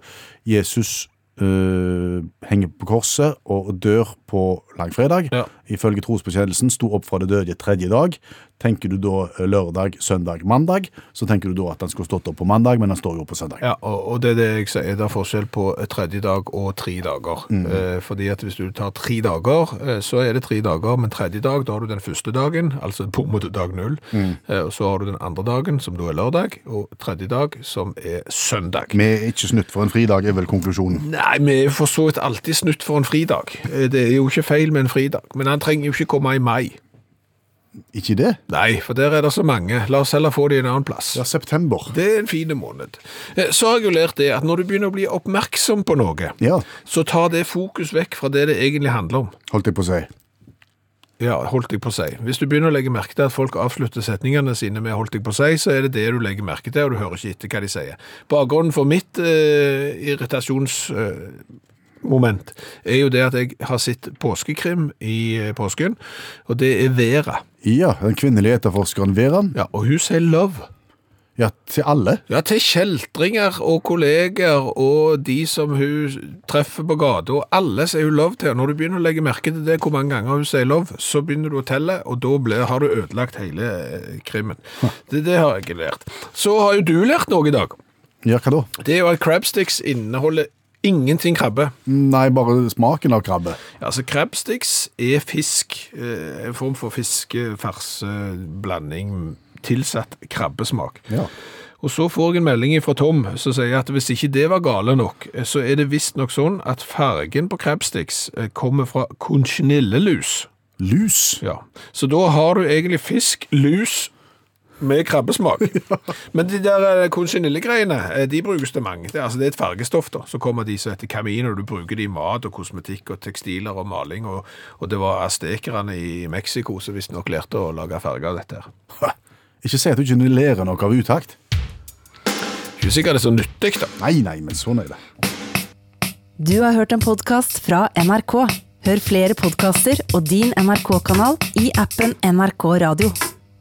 [SPEAKER 3] Jesus eh, henger på korset og dør på langfredag.
[SPEAKER 2] Ja.
[SPEAKER 3] Ifølge trosbekjennelsen sto opp fra det døde tredje dag. Tenker du da eh, lørdag, søndag, mandag, så tenker du da at han skulle stått opp på mandag, men han står jo opp på søndag.
[SPEAKER 2] Ja, og, og det er det jeg sier, det er forskjell på eh, tredje dag og tre dager. Eh, fordi at hvis du tar tre dager, eh, så er det tre dager, men tredje dag, da har du den første dagen, altså på en måte dag null, eh, og så har du den andre dagen, som da er lørdag, og tredje dag, som er søndag.
[SPEAKER 3] Vi er ikke snytt for en fridag, er vel konklusjonen.
[SPEAKER 2] Nei, vi er for så vidt alltid snutt for en fridag. Eh, Det er jo ikke feil med en fridag, men han trenger jo ikke komme i mai.
[SPEAKER 3] Ikke det?
[SPEAKER 2] Nei, for der er det så mange. La oss heller få de en annen plass.
[SPEAKER 3] Ja, september.
[SPEAKER 2] Det er en fin måned. Eh, Så har jeg jo lært det at når du begynner å bli oppmerksom på noe,
[SPEAKER 3] Ja,
[SPEAKER 2] så tar det fokus vekk fra det det egentlig handler om.
[SPEAKER 3] holdt jeg på å si.
[SPEAKER 2] Ja, holdt jeg på å si. Hvis du begynner å legge merke til at folk avslutter setningene sine med holdt jeg på å si, så er det det du legger merke til, og du hører ikke etter hva de sier. Bakgrunnen for mitt eh, irritasjonsmoment eh, er jo det at jeg har sett påskekrim i eh, påsken, og det er Vera.
[SPEAKER 3] Ja, den kvinnelige etterforskeren Veran.
[SPEAKER 2] Ja, og hun sier love.
[SPEAKER 3] Ja, til alle.
[SPEAKER 2] Ja, til kjeltringer og kolleger og de som hun treffer på gata, og alle sier hun lov til. Når du begynner å legge merke til det hvor mange ganger hun sier lov, så begynner du å telle, og da blir, har du ødelagt hele eh, krimmen. Det, det har jeg ikke lært. Så har jo du lært noe i dag.
[SPEAKER 3] Ja, hva da?
[SPEAKER 2] Det er jo at crabsticks inneholder ingenting krabbe.
[SPEAKER 3] Nei, bare smaken av krabbe.
[SPEAKER 2] Altså, crabsticks er fisk, eh, en form for fiskefars-blanding tilsatt krabbesmak.
[SPEAKER 3] Ja.
[SPEAKER 2] Og så får jeg en melding fra Tom som sier at hvis ikke det var gale nok, eh, så er det visstnok sånn at fargen på crabsticks eh, kommer fra konchignillelus.
[SPEAKER 3] Lus.
[SPEAKER 2] Ja. Så da har du egentlig fisk, lus med krabbesmak. Men de der eh, conchinillegreiene, eh, de brukes til mange. Det, er- altså, det er et fargestoff, da. Så kommer de som heter kamin, og du bruker de i mat og kosmetikk og tekstiler og maling. Og, og det var aztekerne i Mexico som visstnok lærte å lage farger av dette her.
[SPEAKER 3] Ha. Ikke si at du ikke lærer noe av utakt.
[SPEAKER 2] Ikke sikkert det er så nyttig, da.
[SPEAKER 3] Nei, nei, men sånn er det.
[SPEAKER 1] Du har hørt en podkast fra NRK. Hør flere podkaster og din NRK-kanal i appen NRK Radio.